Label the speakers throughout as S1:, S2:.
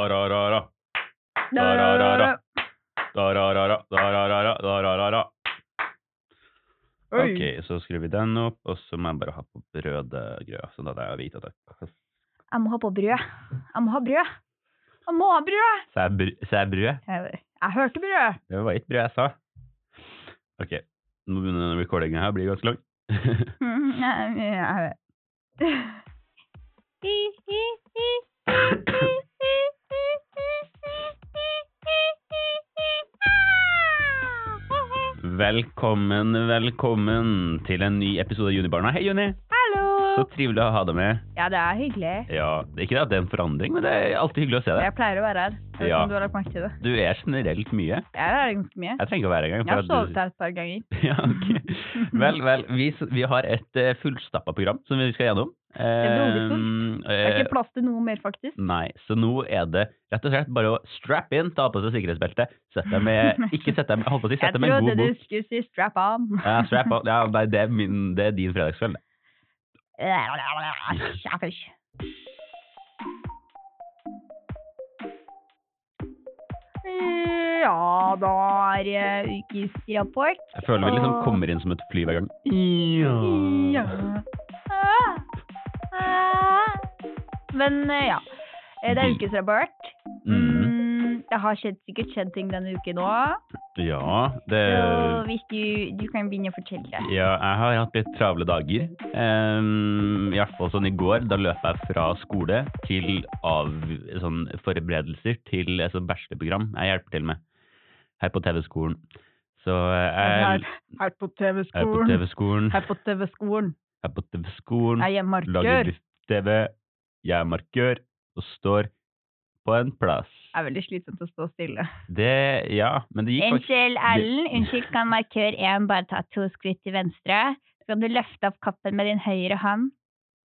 S1: Da-ra-ra-ra. Da-ra-ra-ra. Da-ra-ra-ra. Da-ra-ra-ra. Da-ra-ra-ra.
S2: Oi.
S1: Ok, så skrur vi den opp, og så må jeg bare ha på brødgrøt, sånn at jeg vet at jeg
S2: Jeg må ha på brød. Jeg må ha brød. Jeg må ha brød!
S1: Så er brød? Så er brød?
S2: Jeg, jeg hørte brød.
S1: Det var ikke brød jeg sa. Ok, nå begynner denne recordingen her, blir ganske lang.
S2: Mm, jeg- jeg- jeg- Hi, hi, hi, hi, hi, hi, hi, hi, hi, hi, hi. Ah! He, he.
S1: Velkommen, velkommen til en ny episode av Junibarna. Hei, Juni! Så
S2: Hallo!
S1: trivelig å ha deg med.
S2: Ja, det er hyggelig.
S1: Ja, det er ikke det at det er en forandring, men det er alltid hyggelig å se deg.
S2: Jeg pleier å være her. Jeg vet ikke
S1: Ja.
S2: om du har lagt merke til det.
S1: Du er generelt mye.
S2: Jeg er her ganske mye.
S1: Jeg trenger ikke å være her
S2: Jeg har
S1: engang.
S2: sovet
S1: for at du-
S2: her et par ganger.
S1: Ja, ok. Vel, vel. Vi, s- vi har et eh, fullstappa program som vi skal gjennom.
S2: veldig
S1: Eh,
S2: Det er
S1: eh,
S2: ikke plass til noe mer, faktisk.
S1: Nei, så nå er det rett og slett bare å strap in, ta på seg sikkerhetsbeltet, sett deg med Ikke sett deg med, holdt på å si,
S2: Jeg
S1: sett deg med en god
S2: trodde du
S1: bok.
S2: skulle si strap on.
S1: Ja, strap on. Ja, nei, det er, min, det er din fredagskveld. det.
S2: Ja, da er eh, ukens rapport.
S1: Jeg føler vi liksom
S2: Åh.
S1: kommer inn som et fly hver gang. Ja.
S2: Ja. Ah. Ah. Men eh, ja, Eh, det er ukens rapport.
S1: Mm,
S2: Mm, det har skjedd, sikkert skjedd ting denne uken òg,
S1: ja,
S2: så
S1: det
S2: hvis du, du kan begynne å fortelle.
S1: Ja, Eh. jeg har hatt litt travle dager. Ehm, I hvert fall sånn i går. Da løp jeg fra skole til av sånn forberedelser til et sånt bachelorprogram jeg hjelper til med her på TV-skolen. Så jeg
S2: her på
S1: er på TV-skolen.
S2: Her på TV-skolen.
S1: Jeg er på TV-skolen,
S2: Jeg
S1: lager
S2: er markør.
S1: drift-TV, jeg er markør og står på en plass.
S2: Det er veldig slitsomt å stå stille.
S1: Det, ja, men det gikk faktisk
S2: Unnskyld, Erlend. Unnskyld, kan markør 1 bare ta to skritt til venstre? Skal du løfte opp kappen med din høyre hånd?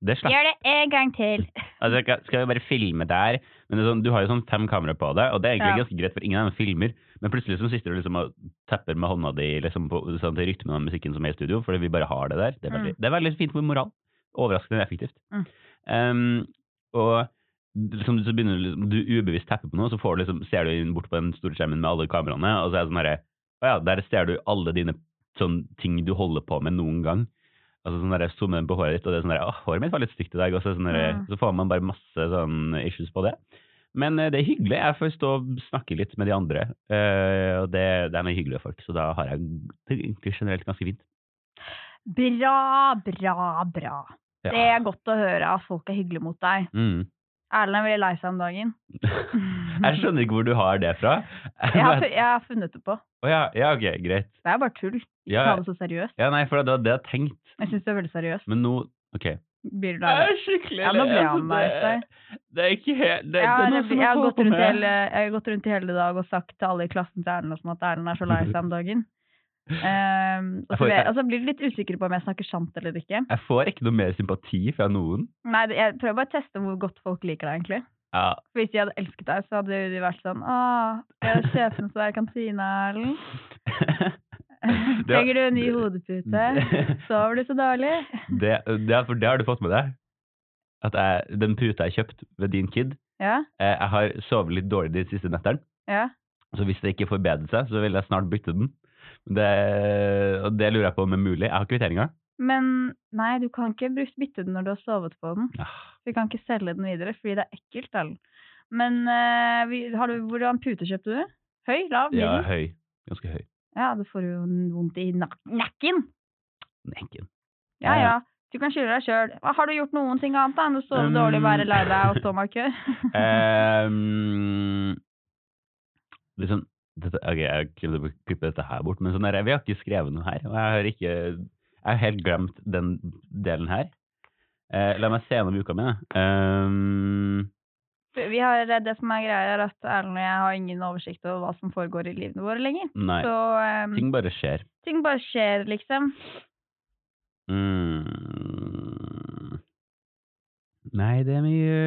S1: Det slapp.
S2: Gjør det en gang til.
S1: Altså, skal- skal vi bare filme der? Men det er sånn, du har jo sånn fem kameraer på deg, og det er egentlig
S2: Ja.
S1: ganske greit, for ingen av dem filmer. Men plutselig så sitter du liksom og tepper med hånda di liksom på, sånn, til rytmen av musikken som er i studio, fordi vi bare har det der. Det er veldig, det er veldig fint for moral. Overraskende effektivt.
S2: Mm.
S1: Ehm, og liksom, så begynner du liksom, du ubevisst tepper på noe, så får du liksom, ser du inn bort på den store skjermen med alle kameraene, og så er det sånn herre Å ja, der ser du alle dine sånn ting du holder på med noen gang. Altså sånn der, Zoome inn på håret ditt, og det er sånn der, «Åh, håret mitt var litt stygt i dag. Og så, er det sånn der,
S2: Mm.
S1: så får man bare masse sånn issues på det. Men eh, det er hyggelig. Jeg får stå og snakke litt med de andre. eh, og det, det er med hyggelige folk, så da har jeg det er egentlig generelt ganske fint.
S2: Bra, bra, bra.
S1: Ja.
S2: Det er godt å høre at folk er hyggelige mot deg.
S1: Mm.
S2: Erlend er veldig lei seg om dagen.
S1: Jeg skjønner ikke hvor du har det fra.
S2: Jeg
S1: sånn?
S2: har, fu- jeg har funnet det på.
S1: Å ja, ja, ok, greit.
S2: Det er bare tull. Ikke
S1: Ja.
S2: ta det så seriøst.
S1: Ja, nei, for det var det jeg tenkte.
S2: Jeg syns det er veldig seriøst.
S1: Men nå OK.
S2: Blir du lei deg?
S1: skikkelig Altså,
S2: Ja, nå ble han lei seg.
S1: Det er ikke helt
S2: Jeg har, jeg, har gått rundt hele, jeg har gått rundt i hele dag og sagt til alle i klassen til Erlend og sånn at Erlend er så lei seg om dagen. Ehm, og,
S1: Jeg
S2: så
S1: får-
S2: ble, og så blir du litt usikker på om jeg snakker sant eller ikke.
S1: Jeg får ikke noe mer sympati fra noen.
S2: Nei, det- Jeg prøver bare å teste hvor godt folk liker deg, egentlig.
S1: Ja,
S2: For Hvis de hadde elsket deg, så hadde de vært sånn Å, det er sjefen som er i kantina, Erlend. Trenger du en ny hodepute? Sover du så dårlig?
S1: det, det, er- for det har du fått med deg. At jeg, den puta jeg kjøpte ved din kid
S2: Ja?
S1: eh, Jeg har sovet litt dårlig de siste nettene.
S2: Ja?
S1: Så hvis det ikke forbedret seg, så vil jeg snart bytte den. Det, og det lurer jeg på om er mulig. Jeg har kvitteringa.
S2: Men nei, du kan ikke bruk- bytte den når du har sovet på den.
S1: Ah,
S2: Vi kan ikke selge den videre, fordi det er ekkelt. Erlend. Men eh, vi, har du, hvordan pute kjøpte du? Høy? Lav?
S1: Ja,
S2: Middel?
S1: høy. Ganske høy.
S2: Ja, du får jo vondt i nak nakken.
S1: Nekken.
S2: Ja,
S1: Ja.
S2: ja. Du kan skylde deg sjøl. Har du gjort noen ting annet da, enn å sove
S1: Um,
S2: dårlig, være lei deg og stå markør?
S1: Ehm, liksom, dette, ok, jeg klipper klipper dette her bort, men sånn der, vi har ikke skrevet noe her. Og jeg har ikke Jeg har helt glemt den delen her. Eh, la meg se gjennom uka mi, da. Ehm,
S2: Vi har, eh, det som er greia, er at Erlend og jeg har ingen oversikt over hva som foregår i livene våre lenger.
S1: nei.
S2: Så em,
S1: Ting bare skjer.
S2: ting bare skjer, liksom.
S1: Mm. Nei, det er mye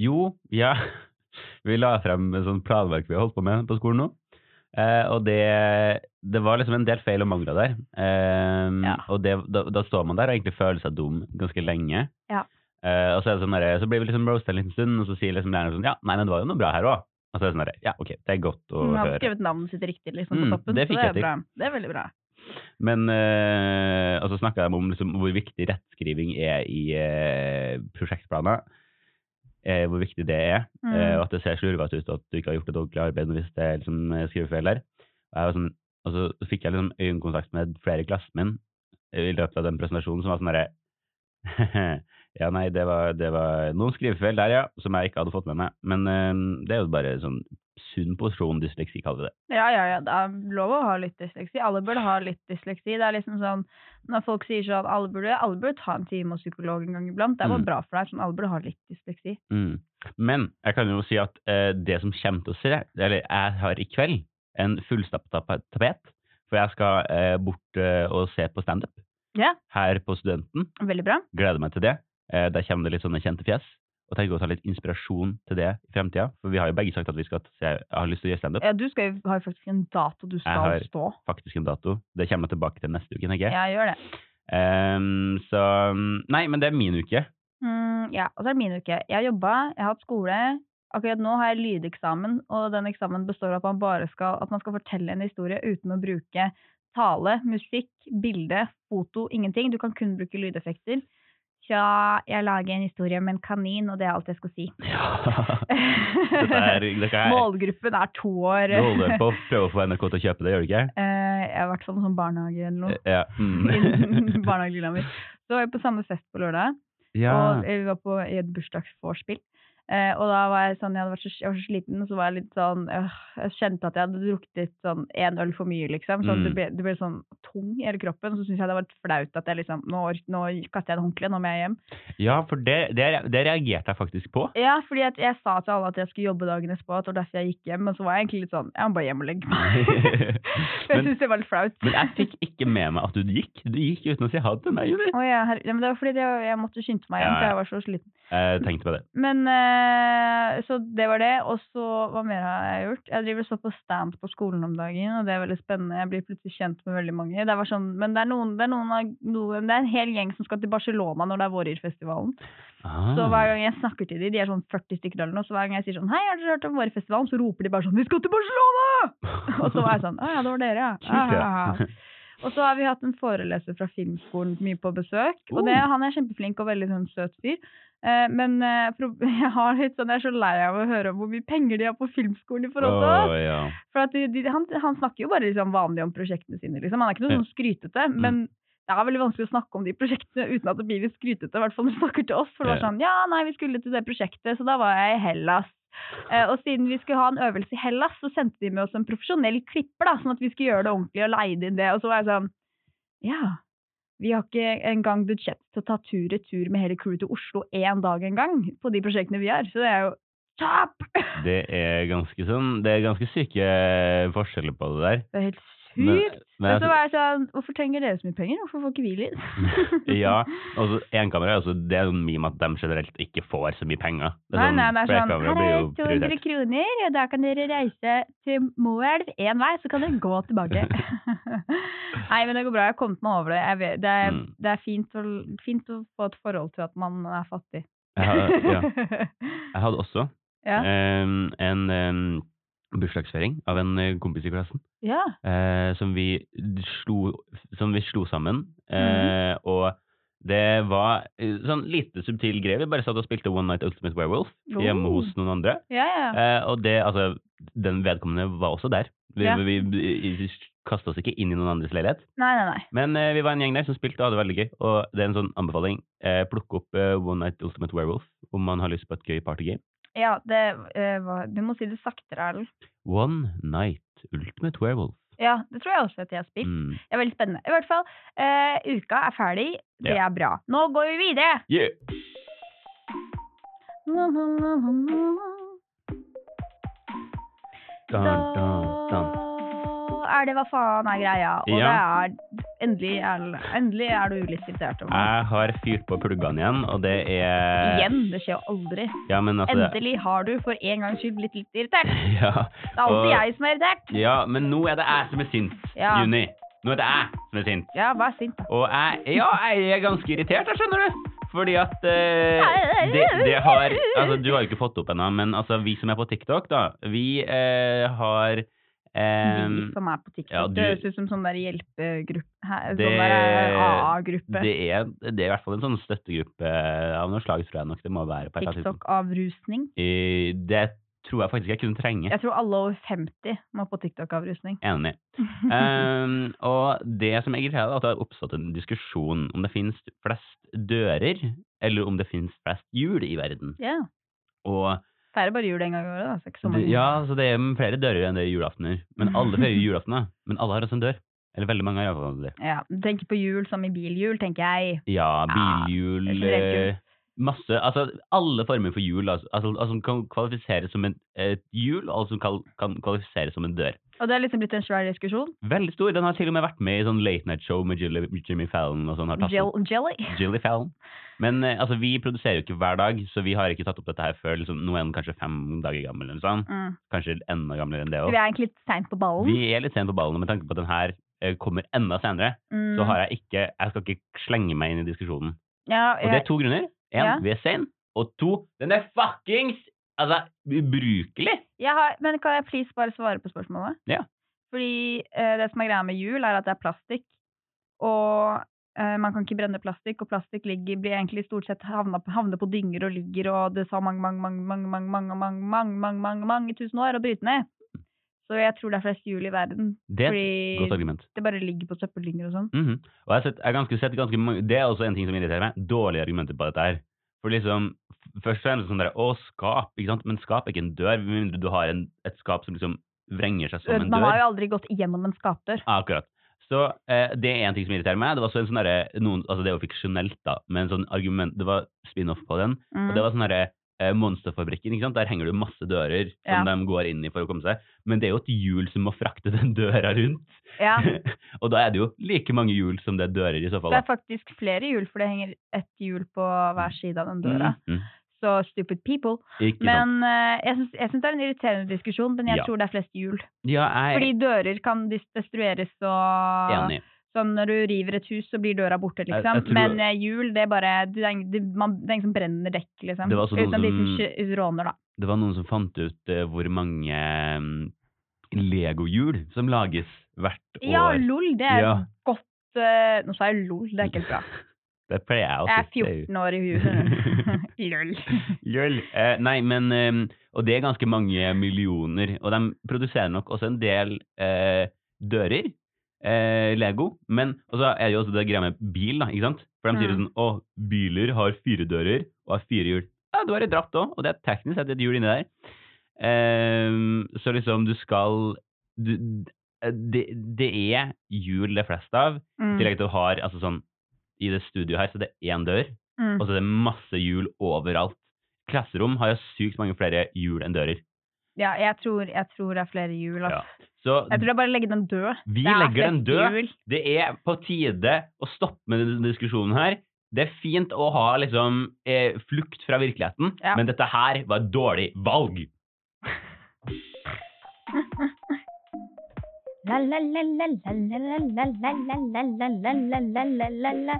S1: Jo, ja. Vi la frem et sånt planverk vi har holdt på med på skolen nå. Eh, og det, det var liksom en del feil og mangler der. Eh,
S2: Ja.
S1: Og det, da, da står man der og egentlig føler seg dum ganske lenge.
S2: Ja.
S1: Eh, og så, er det sånn der, så blir vi liksom roasta en liten stund, og så sier liksom læreren sånn Ja, nei, men det var jo noe bra her òg. Og så er det sånn der, Ja, OK, det er godt å
S2: Hun har
S1: høre.
S2: skrevet navnet sitt riktig liksom, på
S1: Mm,
S2: toppen,
S1: det
S2: så
S1: fikk
S2: det
S1: jeg
S2: er
S1: til.
S2: bra. Det er veldig bra.
S1: Men eh, Og så snakka de om liksom, hvor viktig rettskriving er i eh, prosjektplaner. Eh, hvor viktig det er.
S2: Mm.
S1: eh, og at det ser slurvete ut, og at du ikke har gjort et ordentlig arbeid hvis det er liksom, eh, skrivefeil der. Og, jeg var sånn, og så fikk jeg liksom øyekontakt med flere i klassen min eh, i løpet av den presentasjonen som var sånn derre Ja, nei, det var, det var noen skrivefeil der, ja, som jeg ikke hadde fått med meg. Men eh, det er jo bare sånn sunn posisjon dysleksi, kaller vi det.
S2: Ja, ja, ja. Det er lov å ha litt dysleksi. Alle burde ha litt dysleksi. Det er liksom sånn når folk sier sånn alle burde, alle burde ta en time hos psykolog en gang iblant. Det er bare
S1: Mm.
S2: bra for deg. Sånn, alle burde ha litt dysleksi.
S1: Mm. Men jeg kan jo si at eh, det som kommer til å skje, eller jeg har i kveld en fullstappet tap- tapet, for jeg skal eh, bort eh, og se på standup
S2: Ja.
S1: her på Studenten.
S2: Veldig bra.
S1: Gleder meg til det. Eh, der kommer det litt sånne kjente fjes. Og tenker å ta litt inspirasjon til det i fremtida, for vi har jo begge sagt at vi skal se, jeg har lyst til å gjøre standup.
S2: Ja, du skal jo har jo faktisk en dato du skal
S1: har-
S2: stå.
S1: Faktisk en dato. Det kommer jeg tilbake til neste uke, tenker jeg.
S2: Ja, gjør det.
S1: Ehm, så Nei, men det er min uke.
S2: Mm, ja, og så er det min uke. Jeg har jobba, jeg har hatt skole. Akkurat nå har jeg lydeksamen, og den eksamen består av at man bare skal, at man skal fortelle en historie uten å bruke tale, musikk, bilde, foto, ingenting. Du kan kun bruke lydeffekter. Tja, jeg lager en historie om en kanin, og det er alt jeg skal si.
S1: Ja. Dette er, dette er,
S2: Målgruppen er to år.
S1: du holder på å prøve å få NRK til å kjøpe det, gjør du ikke?
S2: Eh, jeg har vært sånn som barnehage eller noe.
S1: Eh, Ja.
S2: Innen
S1: Mm.
S2: Barnehagelilla mi. Så var jeg på samme fest på lørdag. Og vi var på i et bursdagsvorspill. Eh, og da var jeg sånn, jeg, hadde vært så, jeg var så sliten, så var jeg litt sånn øh, Jeg kjente at jeg hadde drukket litt sånn én øl for mye, liksom. Så
S1: Mm.
S2: det, ble, det ble sånn tung i hele kroppen. Så syntes jeg det var litt flaut at jeg liksom Nå, ork- nå kaster jeg et håndkle, nå må jeg hjem.
S1: ja, for det, det, det reagerte jeg faktisk på.
S2: Ja, fordi at jeg sa til alle at jeg skulle jobbe dagen etterpå, at det var derfor jeg gikk hjem. Men så var jeg egentlig litt sånn Jeg må bare hjem og legge meg. For jeg
S1: men,
S2: syntes det var litt flaut.
S1: men jeg fikk ikke med meg at du gikk. Du gikk uten å si ha det til meg, Julie.
S2: Å, ja, herre- ja, men det var fordi jeg, jeg måtte skynde meg hjem,
S1: Ja,
S2: for
S1: ja.
S2: jeg var så sliten.
S1: Jeg tenkte på det.
S2: Men eh, Så det var det. Og så hva mer har jeg gjort? Jeg driver og står på stand på skolen om dagen, og det er veldig spennende. Jeg blir plutselig kjent med veldig mange. Det var sånn, men det er, noen, det, er noen av, noen, det er en hel gjeng som skal til Barcelona når det er Vårirfestivalen.
S1: Ah.
S2: Så hver gang jeg snakker til dem, de er sånn 40 stykker eller noe, så hver gang jeg sier sånn Hei, har dere hørt om Vårirfestivalen? Så roper de bare sånn Vi skal til Barcelona! Og så var jeg sånn Å ja, det var dere, ja.
S1: Kult,
S2: Ah.
S1: ja.
S2: Og så har vi hatt en foreleser fra filmskolen mye på besøk. Og
S1: Oh.
S2: det, han er kjempeflink og veldig sånn søt fyr. Eh, men eh, pro- jeg, har litt sånn, jeg er så lei av å høre om hvor mye penger de har på filmskolen i forhold til
S1: Å,
S2: oss.
S1: ja.
S2: For at de, de, han, han snakker jo bare liksom vanlig om prosjektene sine. Liksom. Han er ikke noe
S1: Ja. Mm.
S2: sånn skrytete. Men det er veldig vanskelig å snakke om de prosjektene uten at det blir litt skrytete. I hvert fall når du snakker til oss. For det var
S1: Ja.
S2: sånn Ja, nei, vi skulle til det prosjektet, så da var jeg i Hellas. Eh, og siden vi skulle ha en øvelse i Hellas, så sendte de med oss en profesjonell klipper, da, sånn at vi skulle gjøre det ordentlig og leide inn det. Og så var jeg sånn Ja, vi har ikke engang budsjett til å ta tur-retur med hele crewet til Oslo én dag engang på de prosjektene vi har. Så det er jo tap!
S1: Det er ganske sånn Det er ganske syke forskjeller på det der.
S2: Det er helt
S1: Men-
S2: sykt.
S1: men altså, jeg-
S2: Men så var jeg sånn, hvorfor trenger dere så mye penger? Hvorfor får ikke vi litt?
S1: Ja, og så enkamera altså, det er sånn meme at de generelt ikke får så mye penger. Det er
S2: Nei,
S1: sånn,
S2: nei, det er sånn,
S1: flerkamera
S2: her
S1: blir
S2: er
S1: jo prioritert.
S2: 200 kroner, og da kan dere reise til Moelv én vei, så kan dere gå tilbake. nei, men det går bra, jeg har kommet meg over det. Jeg vet, det, er,
S1: Mm.
S2: det er fint å, fint å få et forhold til at man er fattig.
S1: Jeg har- ja. Jeg hadde også
S2: ja.
S1: em, Ehm, en em, bursdagsfeiring av en eh, kompis i klassen.
S2: ja.
S1: eh, som, vi slo, som vi slo sammen.
S2: Mhm.
S1: Eh, Og det var eh, sånn lite subtil greie. Vi bare satt og spilte One Night Ultimate Werewolf hjemme
S2: Oh.
S1: hos noen andre.
S2: Ja, ja.
S1: Eh, og det, altså, den vedkommende var også der. Vi,
S2: Ja.
S1: vi, vi, vi kasta oss ikke inn i noen andres leilighet.
S2: Nei, nei, nei.
S1: Men eh, vi var en gjeng der som spilte og hadde det veldig gøy. Og det er en sånn anbefaling. Eh, plukk opp eh, One Night Ultimate Werewolf om man har lyst på et gøy partygame.
S2: Ja, det eh, var Du må si det saktere, Erlend.
S1: One Night Ultimate Werewolf.
S2: Ja, det tror jeg også at jeg har spilt.
S1: Mm.
S2: Det er veldig spennende. I hvert fall, eh, uka er ferdig. Det
S1: Ja.
S2: er bra. Nå går vi videre!
S1: Yeah! Dun, dun, dun.
S2: Da er det hva faen er greia. Og
S1: Ja.
S2: det er endelig er, endelig er du litt irritert over meg.
S1: Jeg har fyrt på pluggene igjen, og det er
S2: Igjen. Det skjer jo aldri.
S1: Ja, men altså det-
S2: Endelig har du for en gangs skyld blitt litt irritert.
S1: ja,
S2: Det er alltid
S1: og-
S2: jeg som er irritert.
S1: ja, men nå er det jeg som er sint,
S2: Ja.
S1: Juni. Nå er det jeg som er sint.
S2: Ja, vær sint, da.
S1: Og jeg Ja, jeg er ganske irritert, jeg skjønner du. Fordi at eh, det, det har Altså, du har jo ikke fått det opp ennå, men altså, vi som er på TikTok, da, vi eh, har eh,
S2: de som er på TikTok.
S1: ja, du-
S2: det høres ut som sånn der hjelpegruppe her,
S1: Det-
S2: Sånn der AA-gruppe.
S1: det er, det er i hvert fall en sånn støttegruppe av noe slag, tror jeg nok det må være. på et eller annet tidspunkt.
S2: TikTok-avrusning.
S1: Eh, Det tror jeg faktisk jeg kunne trenge.
S2: Jeg tror alle over 50 må på TikTok-avrusning.
S1: Enig. Ehm, og det som jeg irriterer, er at det har oppstått en diskusjon om det finnes flest dører, eller om det finnes flest hjul i verden.
S2: Ja.
S1: Og
S2: Feirer bare jul en gang i året, da. Så ikke så
S1: det,
S2: mange.
S1: ja, så det er flere dører enn det er julaftener. Men alle feirer jo julaftener. Men alle har også en dør. Eller veldig mange har iallfall det.
S2: Ja, Tenk på jul som i bilhjul, tenker jeg.
S1: Ja,
S2: Ja,
S1: bilhjul
S2: det er generelt
S1: eh, Masse Altså alle former for hjul altså, altså, altså, som kan kvalifiseres som en, et hjul, og som kan, kan kvalifiseres som en dør.
S2: Og det har liksom blitt en svær diskusjon.
S1: Veldig stor. Den har til og med vært med i sånn Late Night Show med Jilly, Jimmy Fallon og sånn. har tatt den.
S2: Jell jelly.
S1: Jilly Fallon. Men eh, altså, vi produserer jo ikke hver dag, så vi har ikke tatt opp dette her før liksom, nå er den kanskje fem dager gammel. eller noe sånt.
S2: Mm.
S1: Kanskje enda gamlere enn det
S2: Så
S1: òg.
S2: vi er egentlig litt seint på ballen.
S1: Vi er litt sent på ballen, og med tanke på at den her eh, kommer enda senere,
S2: Mm.
S1: så har jeg ikke Jeg skal ikke slenge meg inn i diskusjonen.
S2: ja,
S1: Og det er to grunner. Én,
S2: Ja.
S1: vi er sein. Og to, den er fuckings Altså, ubrukelig!
S2: Jeg har, men kan jeg please bare svare på spørsmålet?
S1: Ja.
S2: Fordi eh, det som er greia med jul, er at det er plastikk. Og eh, man kan ikke brenne plastikk, og plastikk ligger, blir egentlig stort sett havna, på- havner på dynger og ligger og det sa mange, mange, mange, mange, mange, mange, mange, mange, mange, mange, mange tusen år å bryte ned. Så jeg tror det er flest jul i verden.
S1: Det er et godt
S2: Fordi
S1: argument.
S2: det bare ligger på søppeldynger og sånn.
S1: Mhm. Og jeg har sett, jeg har ganske, sett ganske mange Det er også en ting som irriterer meg. Dårlige argumenter på dette her. For liksom, f- Først så er det sånn der, å, skap, ikke sant? men skap er ikke en dør, med mindre du har en, et skap som liksom vrenger seg som en
S2: Man har
S1: dør.
S2: jo aldri gått gjennom en skapdør.
S1: Ja, akkurat. Så eh, det er en ting som irriterer meg. Det var også en sånn derre- noen, altså det er jo fiksjonelt, da, men sånn argument, det var spin-off på den. Og
S2: Mm.
S1: det var sånn derre eh, Monsterfabrikken, ikke sant? der henger det jo masse dører som de går inn i for å komme seg. Men det er jo et hjul som må frakte den døra rundt.
S2: Ja,
S1: og da er det jo like mange hjul som det er dører i så fall.
S2: det
S1: da.
S2: er faktisk flere jul, for det henger ett hjul på hver side av den døra.
S1: Mhm.
S2: Så stupid people.
S1: Ikke sant.
S2: Men eh, jeg syns- jeg syns det er en irriterende diskusjon, men jeg
S1: Ja.
S2: tror det er flest hjul.
S1: Ja, jeg
S2: Fordi dører kan dis- destrueres og
S1: er enig.
S2: Sånn når du river et hus, så blir døra borte, liksom.
S1: jeg tror-
S2: Men eh, hjul, det er bare Det er, ingen- det, man, det er ingen som brenner dekk, liksom.
S1: Det var Mm. også noen
S2: Utenom de som
S1: som-
S2: kjø- råner, da.
S1: Det var noen som fant ut eh, hvor mange mm, legohjul som lages hvert
S2: Ja,
S1: år.
S2: lol, det er
S1: Ja.
S2: godt eh, Nå sa jeg lol, det er ikke helt bra.
S1: Det pleier jeg å
S2: Jeg er
S1: si, altså, det er jo-
S2: 14 år i huet. lol.
S1: Lol. Eh, nei, men eh, Og det er ganske mange millioner. Og de produserer nok også en del eh, dører. Eh, Lego. Men og så er det jo også det greia med bil, da. ikke sant? For de sier jo
S2: Mm.
S1: sånn Å, biler har fire dører og har fire hjul. Ja, du har et dratt òg, og det er teknisk sett et hjul inni der. Eh, så liksom, du skal du, det, det er hjul det er flest av. I
S2: Mm.
S1: tillegg til at du har altså sånn I det studioet her så det er én dør.
S2: Mm.
S1: Og så er det masse hjul overalt. Klasserom har jo sykt mange flere hjul enn dører.
S2: Ja, jeg tror, jeg tror det er flere hjul. ass.
S1: Ja. Så
S2: Jeg tror det er bare å legge den død.
S1: vi
S2: Det er
S1: legger den
S2: flest
S1: død.
S2: hjul.
S1: Det er på tide å stoppe med denne diskusjonen her. Det er fint å ha liksom eh, flukt fra virkeligheten,
S2: Ja.
S1: men dette her var et dårlig valg.
S2: La, la, la, la, la, la, la, la, la, la, la, la, la, la, la, la, la.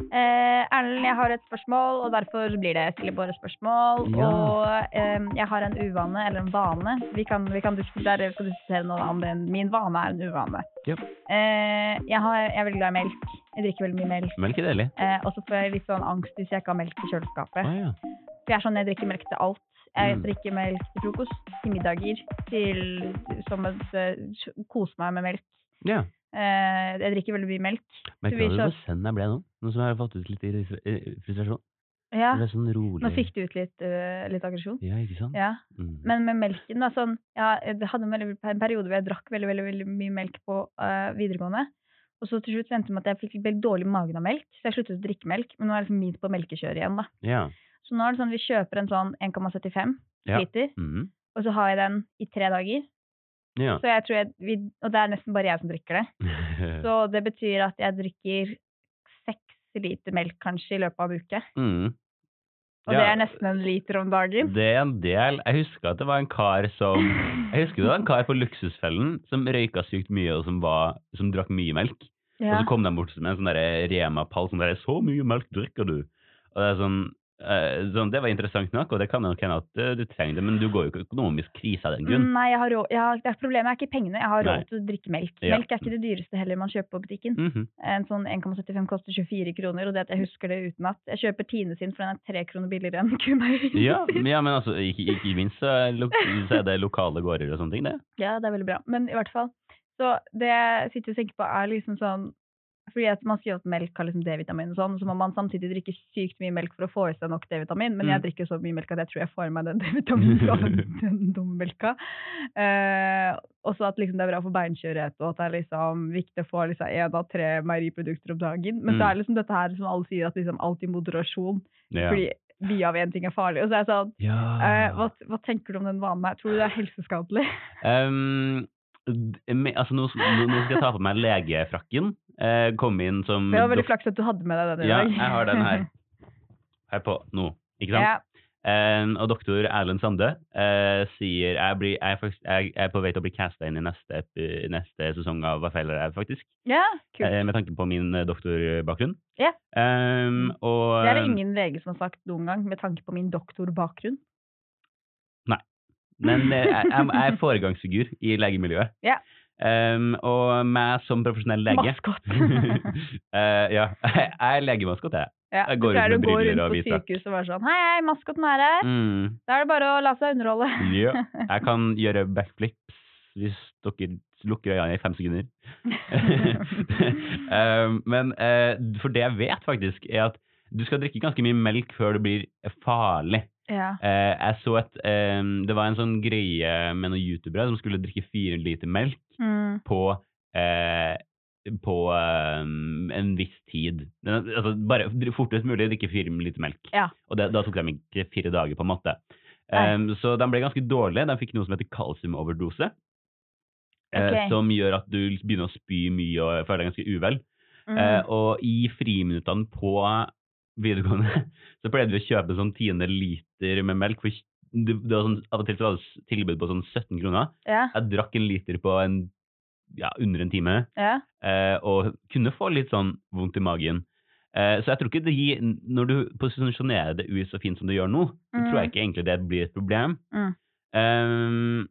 S2: Eh, Erlend, jeg har et spørsmål, og derfor blir det stille bare spørsmål.
S1: Ja.
S2: Og eh, jeg har en uvane, eller en vane. Vi kan, vi kan diskutere, vi skal diskutere noe om det. Min vane er en uvane.
S1: Ja.
S2: Eh, jeg, har, jeg er veldig glad i melk. Jeg drikker veldig mye melk.
S1: Melk er deilig.
S2: Eh, og så får jeg litt sånn angst hvis jeg ikke har melk i kjøleskapet.
S1: Å, ja.
S2: For jeg er sånn, jeg drikker melk til alt. Jeg
S1: Mm.
S2: drikker melk til frokost, til middager, til som et eh, Kose meg med melk.
S1: ja.
S2: Eh, jeg drikker veldig mye melk.
S1: Merker
S2: vi
S1: du
S2: kjører-
S1: hvor send jeg ble nå? Nå som jeg har fått ut litt irri- eh, frustrasjon.
S2: Ja,
S1: Det er sånn
S2: Nå
S1: rolig
S2: fikk du ut litt, eh, litt aggresjon.
S1: Ja, ikke sant?
S2: Ja.
S1: Mm.
S2: Men med melken, da sånn ja, Jeg hadde en, veldig, en periode hvor jeg drakk veldig, veldig, veldig mye melk på eh, videregående. Og så til slutt endte det med at jeg fikk veldig dårlig i magen av melk, så jeg sluttet å drikke melk. Men nå er jeg liksom midt på melkekjøret igjen, da.
S1: Ja.
S2: Så nå er det sånn vi kjøper en sånn 1,75
S1: Ja.
S2: liter,
S1: Mm.
S2: og så har jeg den i tre dager.
S1: ja.
S2: Så jeg tror jeg, vi, og det er nesten bare jeg som drikker det. Så det betyr at jeg drikker seks liter melk kanskje i løpet av en uke.
S1: mm.
S2: Og det er nesten en liter om dagen.
S1: Det er en del. Jeg husker at det var en kar som Jeg husker det var en kar på Luksusfellen som røyka sykt mye og som, var, som drakk mye melk. Og eh,
S2: Ja.
S1: sånn så kom de bort med en sånn der Rema-pall som der 'Så mye melk drikker du?' Og det er sånn, eh, sånn Det var interessant nok, og det kan nok hende at eh, du trenger det, men du går jo ikke økonomisk krise av den grunn.
S2: Nei, jeg har råd, jeg har, det er problemet er ikke pengene. Jeg har
S1: Nei.
S2: råd til å drikke melk.
S1: Ja.
S2: Melk er ikke det dyreste heller man kjøper på butikken.
S1: Mhm.
S2: En sånn 1,75 koster 24 kroner, og det at jeg husker det utenat. Jeg kjøper Tine sin, for den er tre kroner billigere enn Kumeier.
S1: ja, men- ja, men altså, ikke, ikke minst så er, lo så er det lokale gårder og sånne ting, det.
S2: Ja, det er veldig bra. Men i hvert fall. Så det jeg sitter og tenker på, er liksom sånn fordi at Man sier at melk har liksom D-vitamin, og sånn, så må man samtidig drikke sykt mye melk for å få i seg nok D-vitamin. Men jeg
S1: Mm.
S2: drikker så mye melk at jeg tror jeg får i meg den D-vitaminen fra den, den dumme melka. Eh, også at liksom det er bra for beinskjørhet, og at det er liksom viktig å få liksom én av tre meieriprodukter om dagen. Men
S1: Mm.
S2: så er det liksom dette her som alle sier, at liksom alt i moderasjon.
S1: Ja. Ah.
S2: Fordi mye av én ting er farlig. Og så er jeg sånn
S1: ja.
S2: eh, hva, hva tenker du om den vanen her? Tror du det er helseskadelig?
S1: Ehm, d- me- altså, nå, nå, nå skal jeg ta på meg legefrakken. Eh, komme inn som
S2: Det var veldig
S1: dok-
S2: flaks at du hadde med deg den i
S1: Ja,
S2: dag.
S1: jeg har den her. Her på nå. Ikke sant? Eh, og doktor Erlend Sande eh, sier jeg, blir, jeg, er faktisk, jeg, jeg er på vei til å bli casta inn i neste, ep- neste sesong av Hva feiler deg, faktisk.
S2: Ja, ja kult.
S1: Eh, med tanke på min eh, doktorbakgrunn.
S2: Ja. Mm.
S1: Ehm, og
S2: Det er det ingen lege som har sagt noen gang, med tanke på min doktorbakgrunn.
S1: Men eh, jeg, jeg, jeg er foregangsfigur i legemiljøet.
S2: Ja.
S1: Ehm, og meg som profesjonell lege
S2: Maskot.
S1: Eh, ja, jeg er legemaskot, jeg.
S2: ja,
S1: Jeg
S2: jeg
S1: går
S2: går
S1: ut med
S2: rundt på
S1: briller og aviser.
S2: sykehus og være sånn Hei, hei, maskoten er her.
S1: Mm,
S2: Da er det bare å la seg underholde.
S1: ja. Jeg kan gjøre backflips hvis dere lukker øynene i fem sekunder. Ehm, men eh, for det jeg vet, faktisk, er at du skal drikke ganske mye melk før det blir farlig.
S2: ja.
S1: Eh, jeg så et eh, Det var en sånn greie med noen youtubere som skulle drikke fire liter melk
S2: Mm.
S1: på eh, på eh, en viss tid. Den, altså, bare dri- fortest mulig drikke fire liter melk.
S2: Ja.
S1: Og det, da tok de ikke fire dager, på en måte.
S2: Nei.
S1: Eh, så de ble ganske dårlige. De fikk noe som heter kalsiumoverdose. Eh,
S2: Ok.
S1: som gjør at du begynner å spy mye og føler deg ganske uvel.
S2: Mm.
S1: Eh, og i friminuttene på videregående så pleide vi å kjøpe sånn tiende liter med melk. For det, det var sånn, av og til så var det tilbud på sånn 17 kroner.
S2: ja.
S1: Jeg drakk en liter på en, ja, under en time,
S2: ja.
S1: eh, og kunne få litt sånn vondt i magen. Eh, så jeg tror ikke det gir Når du posisjonerer det ut så fint som du gjør nå, så tror jeg ikke egentlig det blir et problem.
S2: Mm.
S1: Eh,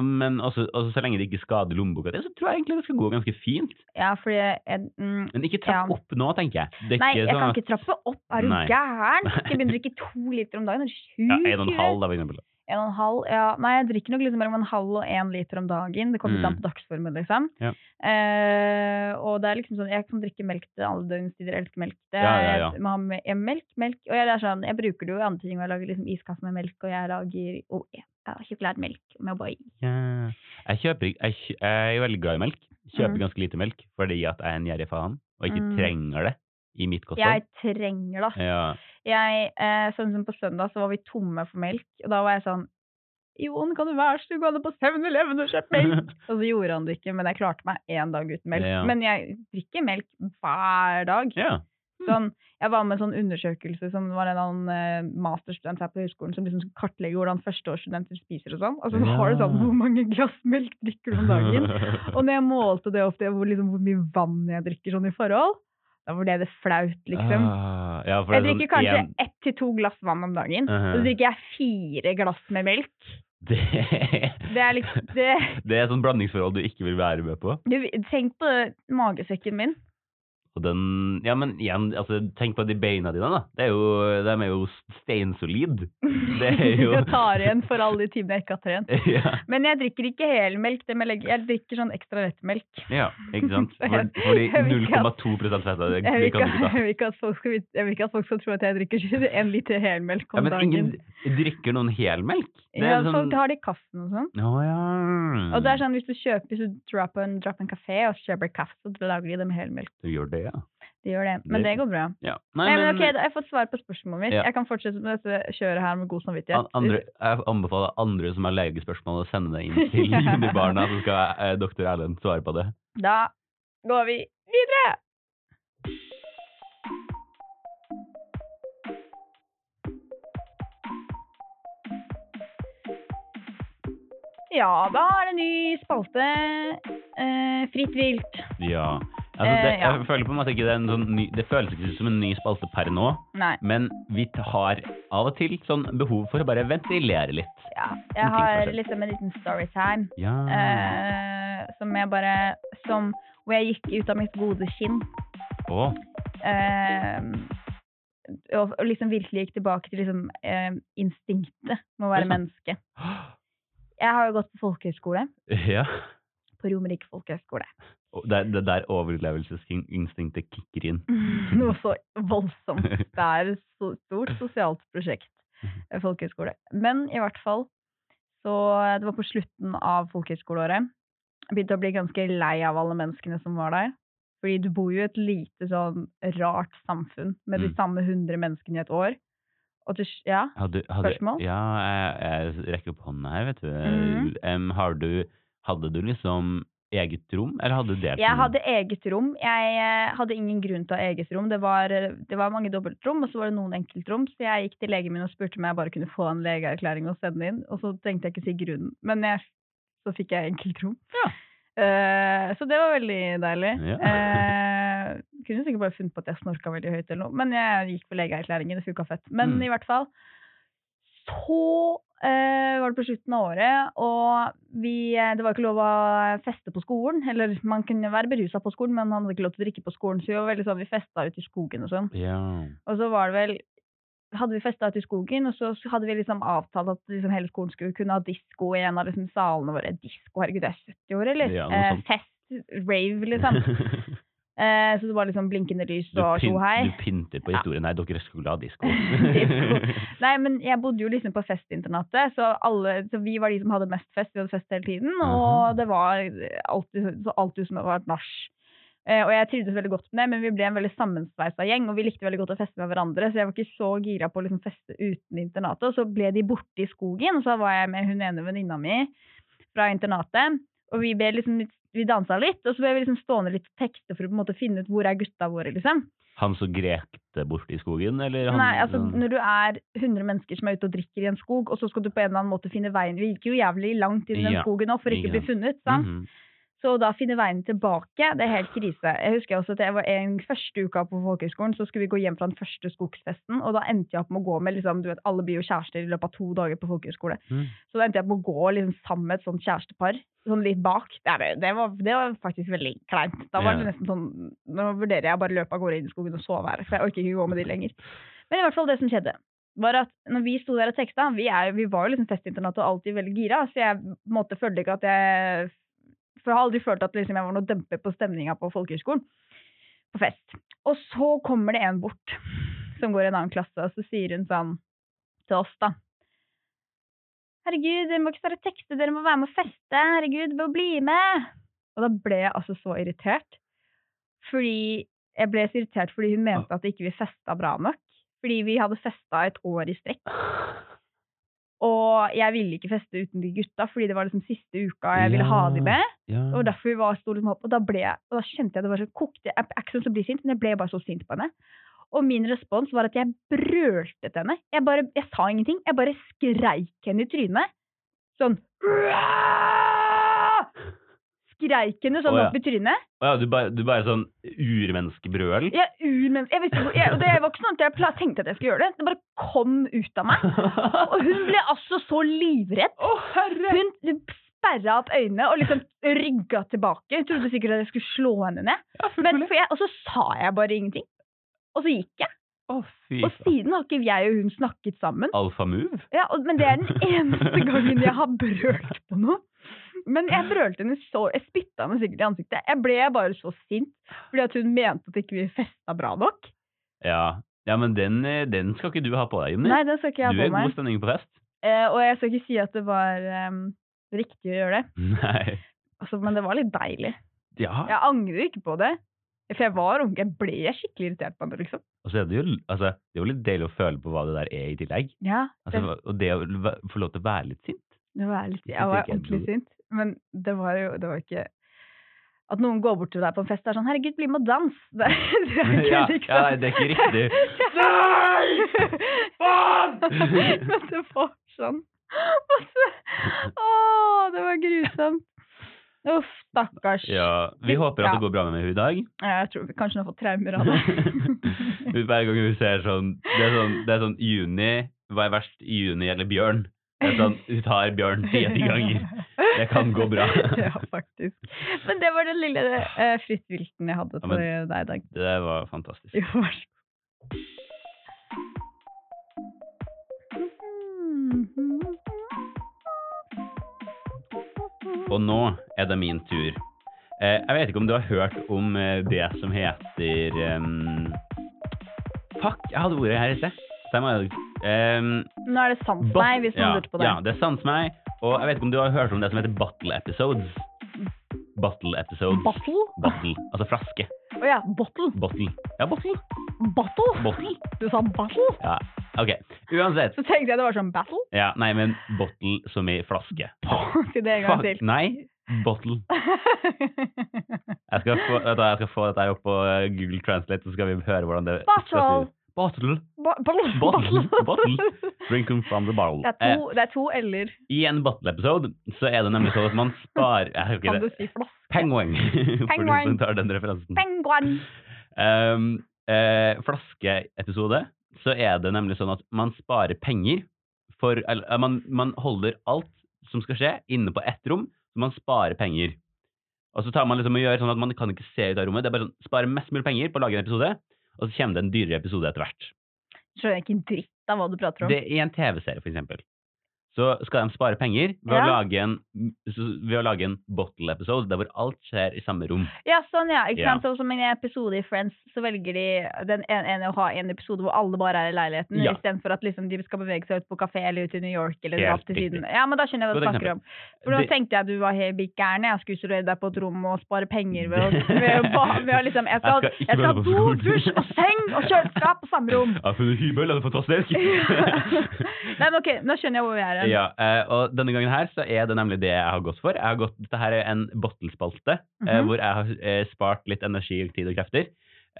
S1: men også, også så lenge det ikke skader lommeboka di, så tror jeg egentlig det skal gå ganske fint.
S2: ja, fordi jeg, mm.
S1: Men ikke trapp
S2: Ja.
S1: opp nå, tenker jeg. Det er
S2: Nei, jeg
S1: sånn
S2: kan
S1: at-
S2: ikke trappe opp. Er du
S1: Nei.
S2: gæren? Jeg begynner å drikke to liter om dagen. Er du
S1: Ja,
S2: sjuk?
S1: en og
S2: i
S1: en
S2: huet?
S1: halv, da, for eksempel.
S2: En og en halv, ja. Nei, jeg drikker nok liksom mellom en halv og en liter om dagen. Det kommer litt an
S1: Mm.
S2: på dagsformen, liksom.
S1: Ja.
S2: Eh, og det er liksom sånn, jeg kan drikke melk til alle døgnets tider, jeg elsker melk. Det,
S1: Ja, ja, ja.
S2: Jeg, må ha med, jeg, melk, melk. Og jeg, det er sånn, jeg bruker det jo i andre ting, og jeg lager liksom iskaffe med melk, og jeg lager oh, jeg, jeg har sjokolademelk med boy.
S1: Ja. Jeg, kjøper, ikke- jeg, kjø- jeg er veldig glad i melk. Kjøper
S2: Mm.
S1: ganske lite melk fordi at jeg er en gjerrig faen og ikke
S2: Mm.
S1: trenger det i mitt kosthold.
S2: Jeg trenger det, ass.
S1: Ja.
S2: Jeg, eh, sånn som på søndag så var vi tomme for melk, og da var jeg sånn Jon, kan du være så snill gå ned på 7-Eleven og kjøpe melk? Og så gjorde han det ikke, men jeg klarte meg én dag uten melk.
S1: Ja.
S2: Men jeg drikker melk hver dag.
S1: ja. Mm.
S2: Sånn, jeg var med i en sånn undersøkelse som var en annen eh, masterstudent her på høyskolen som liksom kartlegger hvordan førsteårsstudenter spiser og sånn. Og så har du sånn
S1: Ja.
S2: hvor mange glass melk drikker du om dagen? Og når jeg målte det opp til hvor, liksom, hvor mye vann jeg drikker sånn i forhold, da ble det flaut, liksom.
S1: Ah, ja, for det
S2: Jeg
S1: er
S2: drikker
S1: sånn
S2: kanskje
S1: en-
S2: ett til to glass vann om dagen.
S1: Uh-huh.
S2: Og så drikker jeg fire glass med melk.
S1: det,
S2: Det er liksom det,
S1: det er et sånt blandingsforhold du ikke vil være med på.
S2: du, Tenk på magesekken min.
S1: Og den, ja, men igjen, altså, tenk på de beina dine, da. Det er jo, de er jo steinsolide. Det er jo-
S2: Jeg tar igjen for alle de timene jeg ikke har trent.
S1: ja.
S2: Men jeg drikker ikke helmelk. det må Jeg legge- jeg drikker sånn ekstra lettmelk.
S1: ja, ikke sant?
S2: Så jeg-
S1: For, fordi
S2: jeg vil ikke at-
S1: 0,2 fett av det,
S2: Jeg vil
S1: det
S2: ikke,
S1: kan du ikke ta.
S2: jeg vil ikke, at, folk skal, vite- jeg vil ikke at folk skal tro at jeg drikker en liter helmelk
S1: Ja,
S2: om
S1: men
S2: dagen.
S1: ingen drikker noen helmelk? Det
S2: ja,
S1: er sånn Mm.
S2: Folk har det i kaffen og sånn.
S1: Å ja.
S2: Og det er sånn, hvis du kjøper, hvis du drar på en, drar på en kafé og kjøper kaffe, så lager de det med helmelk.
S1: Du gjør det, ja.
S2: De gjør det. Men
S1: Det-
S2: det går bra.
S1: ja.
S2: sånn- Nei, men ok, da har jeg fått svar på spørsmålet mitt.
S1: Ja.
S2: Jeg kan fortsette med dette kjøret her med god
S1: an-
S2: samvittighet.
S1: andre, jeg anbefaler andre som har legespørsmål, å sende det inn til
S2: Ja.
S1: Junibarna, så skal eh, doktor Erlend svare på det.
S2: Da går vi videre! Ja, da er det ny spalte. Eh, fritt vilt.
S1: Ja. Altså, det,
S2: Eh, ja.
S1: jeg føler på en måte ikke det, er en sånn ny, det føles ikke som en ny spalte per nå,
S2: Nei.
S1: men vi t- har av og til sånn behov for å bare ventilere litt.
S2: Ja.
S1: ting
S2: Jeg
S1: for
S2: har
S1: seg.
S2: liksom en liten storytime
S1: Ja.
S2: eh, som jeg bare Som Hvor jeg gikk ut av mitt gode kinn.
S1: Å,
S2: Eh, og, og liksom virkelig gikk tilbake til liksom eh, instinktet med å
S1: Det er
S2: være
S1: sant.
S2: menneske. Jeg har jo gått på folkehøyskole.
S1: ja.
S2: På Romerike folkehøyskole.
S1: Og Det er det er der overlevelsesinstinktet kicker inn.
S2: Noe så voldsomt. Det er et so- stort sosialt prosjekt, eh, folkehøyskole. Men i hvert fall, så eh, det var på slutten av folkehøyskoleåret. Jeg begynte å bli ganske lei av alle menneskene som var der. Fordi du bor jo i et lite sånn rart samfunn med de
S1: Mm.
S2: samme 100 menneskene i et år. Og til, s- ja,
S1: Hadde, hadde,
S2: Spørsmål?
S1: Ja, jeg, jeg rekker opp hånda her, vet du.
S2: Mhm.
S1: Em, har du. Hadde du liksom eget rom, eller hadde du delt
S2: Jeg
S1: med noen?
S2: hadde eget rom. Jeg eh, hadde ingen grunn til å ha eget rom. Det var, eh, det var mange dobbeltrom, og så var det noen enkeltrom. Så jeg gikk til legen min og spurte om jeg bare kunne få en legeerklæring og sende inn. Og så tenkte jeg ikke si grunnen, men jeg, så fikk jeg enkeltrom.
S1: Ja.
S2: Eh, så det var veldig deilig.
S1: Ja.
S2: Eh, kunne sikkert bare funnet på at jeg snorka veldig høyt eller noe, men jeg gikk for legeerklæringen. Det funka fett. Men
S1: Mm.
S2: i hvert fall så eh, var det på slutten av året, og vi, eh, det var ikke lov å feste på skolen. Eller man kunne være berusa på skolen, men man hadde ikke lov til å drikke på skolen. Så vi var veldig sånn, vi festa ute i skogen og sånn.
S1: Ja.
S2: Og så var det vel hadde vi festa ute i skogen, og så hadde vi liksom avtalt at liksom hele skolen skulle kunne ha disko i en av liksom salene våre. Disko, herregud, det er 70 år, eller?
S1: Ja, noe
S2: eh,
S1: sånt.
S2: fest, rave, liksom. eh, så det var liksom blinkende lys
S1: du,
S2: og
S1: pyn-
S2: tjohei.
S1: du pynter på
S2: Ja.
S1: historien her. Dere skulle ha disko.
S2: Disco. Nei, men jeg bodde jo liksom på festinternatet, så, alle, så vi var de som hadde mest fest. Vi hadde fest hele tiden,
S1: Aha.
S2: og det var alltid, så alltid som det var et nach. Eh, og jeg trivdes veldig godt med det, men vi ble en veldig sammensveisa gjeng, og vi likte veldig godt å feste med hverandre, så jeg var ikke så gira på å liksom feste uten internatet. Og så ble de borte i skogen, og så var jeg med hun ene venninna mi fra internatet, og vi, ble liksom, litt- vi dansa litt, og så ble vi liksom stående litt og tekste for å på en måte finne ut hvor er gutta våre, liksom.
S1: han som grekte borte i skogen, eller? Han,
S2: Nei, altså
S1: sånn-
S2: Når du er 100 mennesker som er ute og drikker i en skog, og så skal du på en eller annen måte finne veien Vi gikk jo jævlig langt inn i den
S1: Ja,
S2: skogen nå for
S1: ikke
S2: ikke å bli
S1: sant.
S2: funnet. sant?
S1: Mhm.
S2: Så da finne veien tilbake, det er helt krise. Jeg husker også at jeg var en første uka på folkehøgskolen, så skulle vi gå hjem fra den første skogsfesten, og da endte jeg opp med å gå med liksom, du vet, Alle blir jo kjærester i løpet av to dager på folkehøgskole.
S1: Mm.
S2: Så da endte jeg opp med å gå liksom, sammen med et sånt kjærestepar, sånn litt bak. Det, er, det, var, det var faktisk veldig kleint. Da var det
S1: Ja.
S2: nesten sånn Nå vurderer jeg å bare løpe av gårde inn i skogen og sove her, for jeg orker ikke gå med de lenger. Men i hvert fall det som skjedde, var at når vi sto der og teksta Vi, er, vi var jo liksom festinternatet og alltid veldig gira, så jeg på en måte følte ikke at jeg For jeg har aldri følt at liksom, jeg var noe demper på stemninga på folkehøgskolen, på fest. Og så kommer det en bort som går i en annen klasse, og så sier hun sånn til oss, da. Herregud, dere må ikke stå og tekste, dere må være med og feste. Herregud, bare bli med. Og da ble jeg altså så irritert. Fordi jeg ble så irritert fordi hun mente at ikke vi festa bra nok. Fordi vi hadde festa et år i strekk. Og jeg ville ikke feste uten de gutta, fordi det var liksom siste uka jeg ville ha de med.
S1: Ja.
S2: Og derfor vi var sto liksom opp, og da ble jeg, og da kjente jeg det var så kokte, jeg er ikke sånn som blir sint, men jeg ble bare så sint på henne. Og min respons var at jeg brølte til henne. Jeg bare, jeg sa ingenting, jeg bare skreik henne i trynet. Sånn. «Uah!» Skreik henne sånn
S1: Å, ja.
S2: opp i trynet.
S1: Å ja, du bare, du bare sånn urmenneskebrøl?
S2: Jeg, urmen, jeg visste, ikke hvor- jeg, og det var ikke sånn at jeg pla- tenkte at jeg skulle gjøre det, det bare kom ut av meg. Og hun ble altså så livredd.
S1: Å, herre!
S2: Hun hun sperra opp øynene og liksom rygga tilbake. Hun trodde sikkert at jeg skulle slå henne ned. Men for jeg, og så sa jeg bare ingenting. Og så gikk jeg.
S1: Å, fy
S2: Og siden har ikke jeg og hun snakket sammen.
S1: Alfamove?
S2: Ja, og, men det er den eneste gangen jeg har brølt på noe. Men jeg brølte henne så Jeg spytta henne sikkert i ansiktet. Jeg ble bare så sint fordi at hun mente at ikke vi festa bra nok.
S1: Ja. ja, men den, eh, den skal ikke du ha på deg, Jimny.
S2: Nei, det skal ikke
S1: Du
S2: jeg ha
S1: er
S2: på
S1: god
S2: meg.
S1: stemning på fest.
S2: Eh, og jeg skal ikke si at det var ehm, riktig å gjøre det.
S1: Nei.
S2: Altså, men det var litt deilig.
S1: Ja.
S2: Jeg angrer ikke på det. For jeg var ung. Jeg ble skikkelig irritert på henne, liksom.
S1: Og så er det jo altså, det er jo litt deilig å føle på hva det der er i tillegg.
S2: Ja, det,
S1: Altså, og det å væ- få lov til å være litt sint.
S2: det var litt,
S1: synes
S2: jeg var
S1: ikke jeg
S2: ordentlig
S1: burde-
S2: sint. Men det var jo det var ikke At noen går bort til deg på en fest og er sånn 'herregud, bli med og dans'. Det, det er ikke
S1: Ja,
S2: liksom
S1: ja, nei, det er ikke riktig. Nei! Faen!
S2: Men det var sånn. Og så- Å, det var grusomt. Uff, Stakkars.
S1: Ja, vi håper at
S2: Ja.
S1: det går bra med henne i dag.
S2: Jeg tror vi kanskje hun har fått traumer av det.
S1: Hver gang hun ser sånn Det er sånn, det er sånn juni Hva er verst? Juni eller bjørn? Det er sånn, Hun tar bjørn ti ganger. Det kan gå bra.
S2: ja, faktisk. Men det var den lille uh, fritt vilten jeg hadde
S1: Ja,
S2: til
S1: men-
S2: deg i dag.
S1: Det var fantastisk.
S2: Jo, vær så god.
S1: Og nå er det min tur. Eh, jeg vet ikke om du har hørt om eh, det som heter em, Fuck, jeg hadde ordet her i sted. Så jeg må- em,
S2: Nå er det sant
S1: bat-
S2: meg, hvis
S1: ja,
S2: noen lurte på det.
S1: Ja, det er sant for meg. Og jeg vet ikke om du har hørt om det som heter bottle episodes. Bottle episodes.
S2: Bottle? Å
S1: Bottle. Altså flaske.
S2: ja, bottle.
S1: Bottle. Ja, bottle.
S2: Bottle?
S1: Bottle.
S2: Du sa bottle?
S1: Ja, OK. Uansett.
S2: Så tenkte jeg det var sånn battle.
S1: Ja, nei, men bottle som i flaske.
S2: Si det en gang
S1: Fuck,
S2: til.
S1: Nei, bottle. Jeg skal få, vet du, hva, jeg skal få dette her opp på eh, Google Translate, så skal vi høre hvordan det
S2: Bottle.
S1: Bottle.
S2: Bo- Bottle.
S1: Bottle. Bottle. Drinking from the bottle.
S2: Det
S1: Eh,
S2: er to, det er to l-er.
S1: I en bottle-episode så er det nemlig sånn at man sparer Jeg husker
S2: Kan
S1: ikke
S2: du
S1: det.
S2: si flaske?
S1: Penguin. For du som
S2: Penguin.
S1: tar den referansen.
S2: Penguin.
S1: Um, eh, flaskeepisode, så er det nemlig sånn at man sparer penger for Eller eh, man, man holder alt som skal skje, inne på ett rom, så man sparer penger. Og så tar man liksom og gjør sånn at man kan ikke se ut av rommet. Det er bare sånn, Spare mest mulig penger på å lage en episode, og så kommer det en dyrere episode etter hvert.
S2: Skjønner ikke en dritt av hva du prater om.
S1: Det, I en TV-serie, for eksempel. Så skal de spare penger ved, å,
S2: Ja.
S1: lage en, så- ved å lage en bottle-episode der hvor alt skjer i samme rom.
S2: Ja, sånn ja. Ikke
S1: Ja.
S2: sant? Sånn som i en episode i Friends, så velger de den en- ene å ha en episode hvor alle bare er i leiligheten,
S1: Ja.
S2: istedenfor at liksom, de skal bevege seg ut på kafé eller ut i New York eller dra
S1: Helt
S2: til
S1: riktig.
S2: Syden. Ja, men da skjønner jeg hva du
S1: Godt
S2: snakker
S1: eksempel.
S2: om. For nå
S1: Det-
S2: tenkte jeg at du var helt bitt gæren. Jeg skulle isolere deg på et rom og spare penger ved å, ved å, ba- ved å liksom Jeg skal,
S1: Jeg skal ikke
S2: jeg skal
S1: være
S2: ha
S1: på
S2: do,
S1: skolen.
S2: dusj og seng og kjøleskap på samme rom.
S1: Jeg har funnet hybel, det er fantastisk!
S2: Nei, men ok, nå skjønner jeg hvor vi er hen.
S1: Ja, eh, og denne gangen her så er det nemlig det jeg har gått for. Jeg har gått, dette her er en bottelspalte eh,
S2: Mhm.
S1: hvor jeg har eh, spart litt energi, tid og krefter.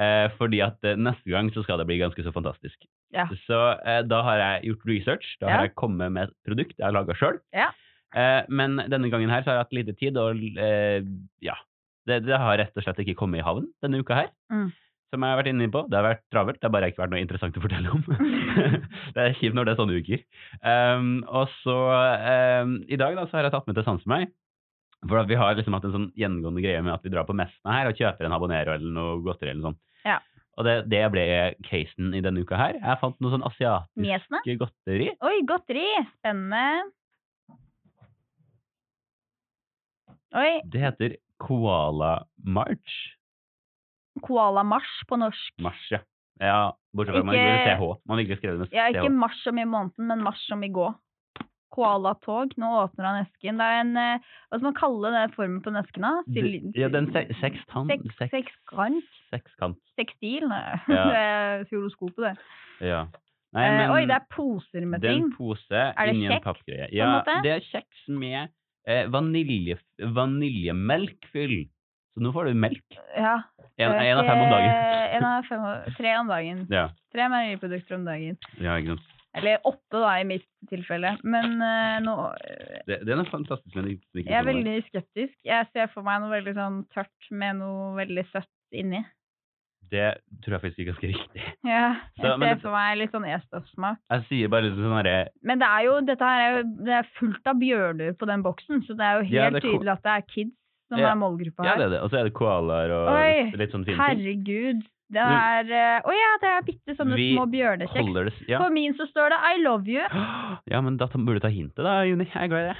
S1: Eh, fordi at eh, neste gang så skal det bli ganske så fantastisk.
S2: Ja.
S1: Så eh, da har jeg gjort research, da
S2: Ja.
S1: har jeg kommet med et produkt jeg har laga sjøl.
S2: Ja.
S1: Eh, men denne gangen her så har jeg hatt lite tid, og eh, ja det, det har rett og slett ikke kommet i havn denne uka her.
S2: Mm.
S1: Som jeg har vært inne på. Det har vært travelt, det har bare ikke vært noe interessant å fortelle om. det er kjipt når det er sånne uker. Ehm, og så ehm, i dag da, så har jeg tatt med til sans for meg. For at vi har liksom hatt en sånn gjengående greie med at vi drar på Mestna her og kjøper en habanero eller noe godteri eller sånn.
S2: Ja.
S1: Og det, det ble casen i denne uka her. Jeg fant noe sånn asiatisk
S2: Mjesene?
S1: godteri.
S2: Oi, godteri! Spennende. Oi,
S1: Det heter Koala March.
S2: koala mars på norsk.
S1: Mars, ja. ja bortsett fra at man
S2: Ikke-
S1: ikke ville CH. Man ville ikke skrevet det
S2: Ja,
S1: med
S2: ikke
S1: CH.
S2: mars som i måneden, men mars som i gå. Koalatog. Nå åpner han esken. Det er en eh, Hva skal man kalle den formen på den esken? da? Sil-
S1: Ja, den se sekstan...
S2: Sek-
S1: Seks,
S2: Sekskant?
S1: sekskant.
S2: Tekstil? Nei,
S1: Ja.
S2: det er horoskopet, det.
S1: Ja.
S2: Eh, Oi, det er poser med
S1: Det er
S2: ting.
S1: en pose
S2: det
S1: inni en
S2: kjeks,
S1: pappgreie.
S2: en
S1: Ja,
S2: måte?
S1: det er kjeks med eh, vanilje, vaniljemelkfyll. Så nå får du melk.
S2: Ja.
S1: En,
S2: eh,
S1: en av fem om dagen.
S2: tre- en av fem, om- tre om dagen.
S1: Ja,
S2: Tre meieriprodukter om dagen.
S1: ja ikke sant.
S2: Eller åtte, da, i mitt tilfelle. Men eh, nå eh,
S1: Det, det er noe fantastisk med det. det ikke
S2: Jeg er
S1: sånn der.
S2: veldig skeptisk. Jeg ser for meg noe veldig sånn tørt med noe veldig søtt inni.
S1: Det tror jeg faktisk er ganske riktig.
S2: Ja, jeg
S1: Så, men
S2: ser
S1: det-
S2: for meg litt sånn e-stoffsmak.
S1: Jeg sier bare litt sånn herre
S2: Men det er jo, dette her er jo det er fullt av bjørner på den boksen, så det er jo helt
S1: Ja, det er ko-
S2: tydelig at det er kids som
S1: Ja.
S2: er målgruppa
S1: Ja,
S2: her.
S1: det er det. Og så er det koalaer og
S2: Oi,
S1: litt sånn fine ting.
S2: Herregud. Det
S1: Men-
S2: er eh, Å ja, det er bitte sånne
S1: Vi
S2: små bjørnekjeks.
S1: Holder det s- ja.
S2: På min så står det 'I love you'.
S1: ja, men da ta- burde du ta hintet, da, Juni. Jeg er glad i det.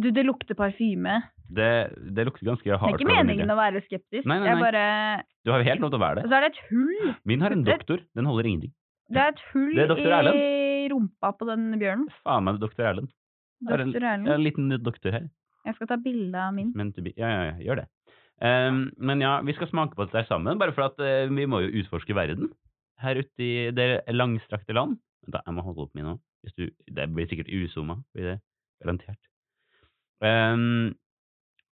S2: Du, det lukter parfyme.
S1: Det, det lukter ganske
S2: Det er
S1: hardt.
S2: ikke meningen å være skeptisk.
S1: Nei, nei,
S2: Jeg
S1: nei.
S2: bare
S1: Du har jo helt lov til å være
S2: Og
S1: det.
S2: så er det et hull.
S1: Min har en
S2: Det-
S1: doktor. Den holder ingenting.
S2: Det er et hull
S1: Det er Dr. Erlend.
S2: i rumpa på den bjørnen.
S1: Faen meg doktor Erlend. Er det-
S2: Dr.
S1: Jeg er
S2: Erlend.
S1: en liten doktor her.
S2: Jeg skal ta bilde av Mm. min.
S1: Men to be- ja, ja, ja, gjør det. Ehm, men ja, vi skal smake på det der sammen, bare for at eh, vi må jo utforske verden. Her ute i det langstrakte land. Vent da, jeg må holde opp min nå. Hvis du, det blir sikkert usomma, blir det garantert. Ehm,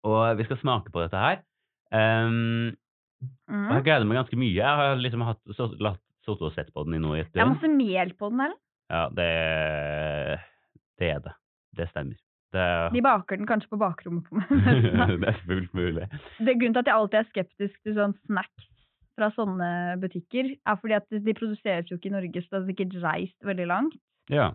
S1: og vi skal smake på dette her. Ehm, og
S2: Mm.
S1: jeg gleder meg ganske mye. Jeg har liksom hatt, så, latt, sittet og sett på den i nå i et
S2: Det er
S1: døgn.
S2: masse mel på den her.
S1: Ja, det, det er det. Det stemmer. Det,
S2: De baker den kanskje på bakrommet på meg.
S1: det er fullt mulig.
S2: sånn det er grunnen til at jeg alltid er skeptisk til sånn snacks fra sånne butikker, er fordi at de produseres jo ikke i Norge, så det har sikkert reist veldig langt.
S1: Ja,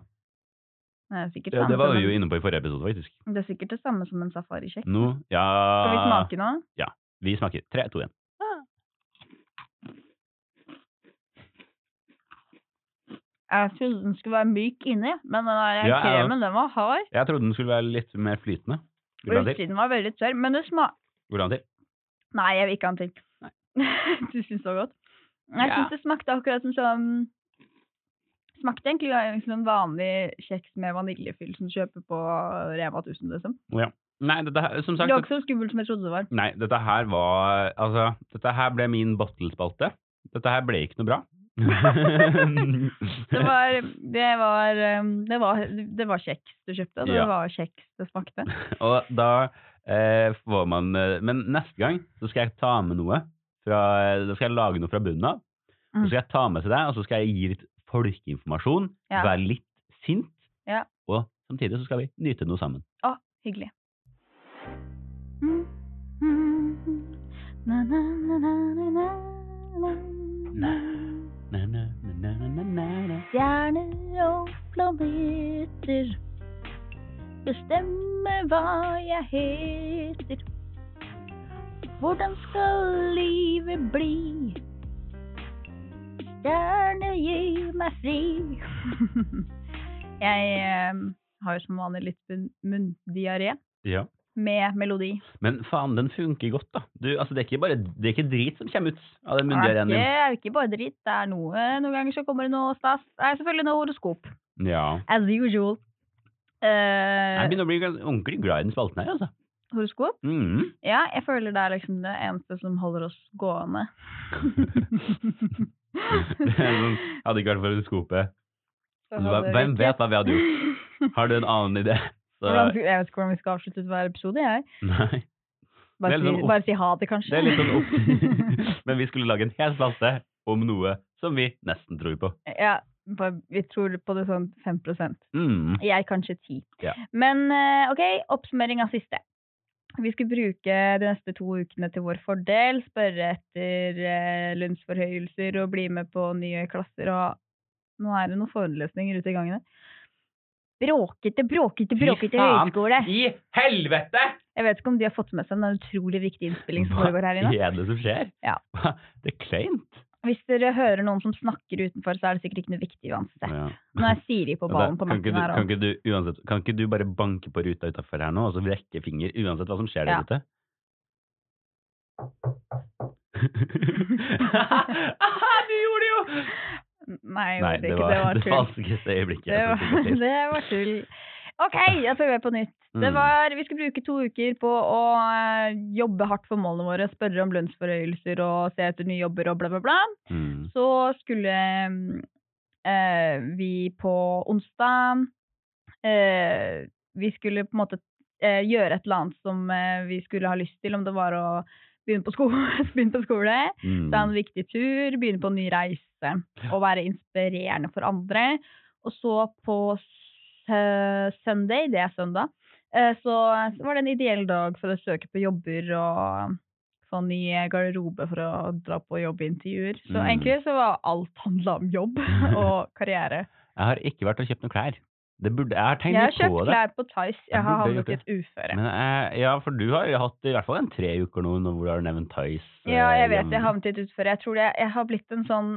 S2: Det er sikkert,
S1: det, det
S2: samme
S1: var
S2: som
S1: vi jo
S2: en,
S1: inne på i forrige episode, faktisk.
S2: det er sikkert det samme som en safarikjekk.
S1: Nå, ja
S2: Skal vi smake nå?
S1: Vi smaker. Tre, to, én.
S2: Jeg trodde den skulle være myk inni, men den der
S1: Ja, ja.
S2: kremen den var hard.
S1: Jeg trodde den skulle være litt mer flytende.
S2: Og
S1: Vil du ha en til?
S2: utsiden var veldig tørr. Men det smak...
S1: Vil du ha en til?
S2: Nei, jeg vil ikke ha en til. du syns det var godt. Jeg
S1: Ja.
S2: syns det smakte akkurat som sånn Smakte egentlig ganske som en vanlig kjeks med vaniljefyll som du kjøper på Rema 1000, liksom.
S1: Nei, dette her, som
S2: Det
S1: sagt
S2: var ikke så skummelt som jeg trodde det var.
S1: Nei, dette her var Altså, dette her ble min bottle-spalte. Dette her ble ikke noe bra.
S2: Det var, det var, um, det var, det var kjeks du kjøpte, og det
S1: Ja.
S2: var kjeks det smakte.
S1: Og da eh, får man eh, Men neste gang så skal jeg ta med noe. Fra, da skal jeg lage noe fra bunnen av. Så
S2: Mm.
S1: skal jeg ta med til deg, og så skal jeg gi litt folkeinformasjon.
S2: Ja.
S1: Være litt sint.
S2: Ja.
S1: Og samtidig så skal vi nyte noe sammen.
S2: Å, hyggelig. Mm, mm, na, na, na, na, na, na, na, na.
S1: Na, na, na, na, na, na, na.
S2: Stjerner og planeter bestemmer hva jeg heter. Hvordan skal livet bli? Stjerner gir meg fri. jeg eh, har jo som vanlig litt bunn- munndiaré
S1: Ja.
S2: med melodi.
S1: Men faen, den funker godt, da. Du, altså, det er ikke bare det er ikke drit som kommer ut av den
S2: det er
S1: munndiareen din.
S2: ikke, er ikke bare dritt. Det er noe, noen ganger så kommer det noe stas. Det er selvfølgelig noe horoskop.
S1: Ja.
S2: As usual. Eh,
S1: Jeg begynner å bli gans- ordentlig glad i den spalten her, altså.
S2: horoskop?
S1: Mhm.
S2: Ja, jeg føler det er liksom det eneste som holder oss gående.
S1: Det er sånn, hadde ikke vært for horoskopet. Hva- Hvem vet hva vi hadde gjort? Har du en annen idé? Så,
S2: Hvordan, jeg vet ikke hvordan vi skal avslutte hver episode, jeg.
S1: nei.
S2: Bare,
S1: Det er litt
S2: si,
S1: sånn opp-
S2: bare si ha det, kanskje.
S1: Det er litt sånn opp Men vi skulle lage en hel spalte om noe som vi nesten tror på.
S2: ja, bare, vi tror på det sånn 5
S1: Mm.
S2: Jeg kanskje 10.
S1: Ja.
S2: Men eh, OK, oppsummering av siste. Vi skulle bruke de neste to ukene til vår fordel, spørre etter eh, lønnsforhøyelser og bli med på nye klasser og ha Nå er det noen forelesninger ute i gangene. Bråkete, bråkete,
S1: Fy
S2: bråkete
S1: faen.
S2: høyskole!
S1: I helvete!
S2: Jeg vet ikke om de har fått med seg den utrolig viktige innspilling som
S1: Hva
S2: foregår her inne.
S1: er det som skjer?
S2: Ja.
S1: Det er kleint.
S2: Hvis dere hører noen som snakker utenfor, så er det sikkert ikke noe viktig uansett.
S1: Ja.
S2: Nå er Siri på ballen på
S1: kan, ikke
S2: natten
S1: du,
S2: her altså.
S1: kan,
S2: òg.
S1: ikke du, uansett, kan ikke du bare banke på ruta utafor her nå, og så vrekke finger, uansett hva som skjer der
S2: Ja.
S1: ute? du gjorde det jo!
S2: Nei, jeg
S1: Nei,
S2: gjorde
S1: det
S2: ikke.
S1: var det
S2: det var tull.
S1: falskeste øyeblikket.
S2: Det
S1: jeg har
S2: var,
S1: fått til.
S2: det var tull. OK, da prøver jeg på nytt. Det
S1: Mm.
S2: var, vi skulle bruke to uker på å eh, jobbe hardt for målene våre, spørre om lønnsforhøyelser og se etter nye jobber og bla, bla, bla.
S1: Mm.
S2: Så skulle mm, eh, vi på onsdag eh, Vi skulle på en måte eh, gjøre et eller annet som eh, vi skulle ha lyst til, om det var å begynne på skole, begynne på skole
S1: Mm.
S2: ta en viktig tur, begynne på en ny reise og være inspirerende for andre. Og så på sø- Sunday, det er søndag, eh, så så var det en ideell dag for å søke på jobber og få ny garderobe for å dra på jobbintervjuer. Så
S1: Mm.
S2: egentlig så var alt handla om jobb og karriere.
S1: Jeg har ikke vært og kjøpt noen klær. Det burde, jeg har
S2: Jeg
S1: tenkt
S2: har
S1: litt
S2: kjøpt
S1: på det.
S2: klær på Tice, jeg har
S1: burde gjort
S2: havnet i et uføre.
S1: Men jeg, ja, for du har jo hatt i hvert fall en tre uker nå, nå hvor du har nevnt Tice.
S2: Ja,
S1: eh,
S2: jeg vet jeg
S1: jevn-
S2: havnet i et uføre. Jeg tror det, jeg har blitt en sånn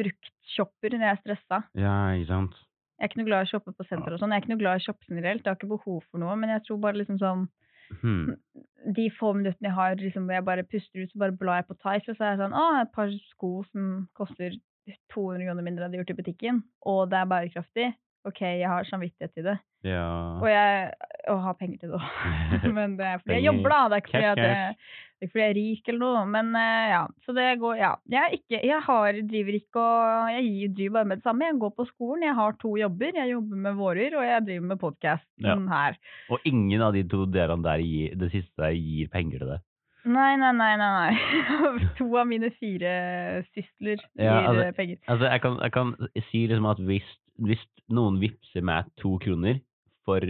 S2: bruktkjopper når jeg er stressa.
S1: Ja, ikke sant.
S2: Jeg er ikke noe glad i å shoppe på senter og sånn. Jeg er ikke noe glad i å shoppe generelt. Jeg har ikke behov for noe, men jeg tror bare liksom sånn
S1: Hmm.
S2: De få minuttene jeg har liksom, hvor jeg bare puster ut, så bare blar jeg på Tice, og så er jeg sånn Å, et par sko som koster 200 kroner mindre enn de gjort i butikken, og det er bærekraftig. OK, jeg har samvittighet til det.
S1: Ja.
S2: Og jeg og har penger til det òg. Men det er fordi jeg
S1: Penger.
S2: jobber, da. Det er ikke fordi,
S1: Cash,
S2: at jeg, det er ikke fordi jeg er rik eller noe. Men eh, ja. Så det går Ja. Jeg, er ikke, jeg har, driver ikke og Jeg gir- driver bare med det samme. Jeg går på skolen, jeg har to jobber. Jeg jobber med vårer, og jeg driver med podkasten
S1: Ja.
S2: her.
S1: Og ingen av de to delene der gir, det siste der gir penger til det.
S2: Nei, nei, nei, nei. nei. to av mine fire sysler gir
S1: Ja, altså-
S2: eh, penger.
S1: Altså, jeg kan, jeg kan si liksom at hvis, hvis noen vippser meg to kroner for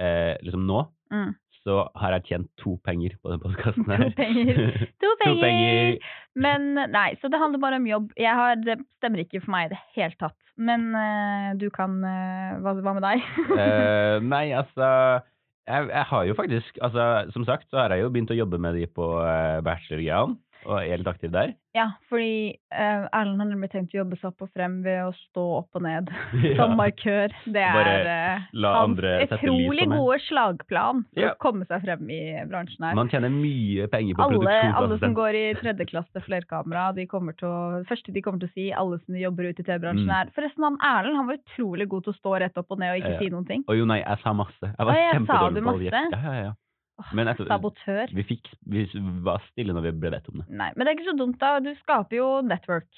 S1: eh, liksom nå,
S2: Mm.
S1: så har jeg tjent to penger på den podkasten her.
S2: To penger. To
S1: To
S2: penger! Men eh, nei, så det handler bare om jobb. Jeg har, det stemmer ikke for meg i det hele tatt. Men eh, du kan eh, hva, hva med deg?
S1: Eh, nei, altså jeg, jeg har jo faktisk altså, Som sagt så har jeg jo begynt å jobbe med de på eh, bachelorgreiene, og er litt aktiv der.
S2: ja, fordi eh, Erlend har nemlig tenkt å jobbe seg opp og frem ved å stå opp og ned som
S1: Ja.
S2: markør. Det er
S1: Bare
S2: eh,
S1: la
S2: hans
S1: andre sette lys på
S2: utrolig
S1: meg.
S2: gode slagplan for
S1: Ja.
S2: å komme seg frem i bransjen her.
S1: Man tjener mye penger på
S2: Alle, alle som
S1: produksjonsassistent.
S2: går i tredje klasse flerkamera, de kommer til å, det første de kommer til å si, alle som jobber ute i TV-bransjen,
S1: Mm.
S2: er Forresten, han Erlend han var utrolig god til å stå rett opp og ned og ikke
S1: Ja, ja.
S2: si noen ting.
S1: Å jo, nei, jeg sa masse. Jeg var
S2: Å, ja, sa
S1: kjempedårlig
S2: du
S1: på objekt.
S2: masse?
S1: Ja, ja, ja.
S2: Åh,
S1: Men etter-
S2: Sabotør.
S1: Vi, fikk, vi var stille når vi ble bedt om det.
S2: Nei, men det er ikke så dumt, da. Du skaper jo network.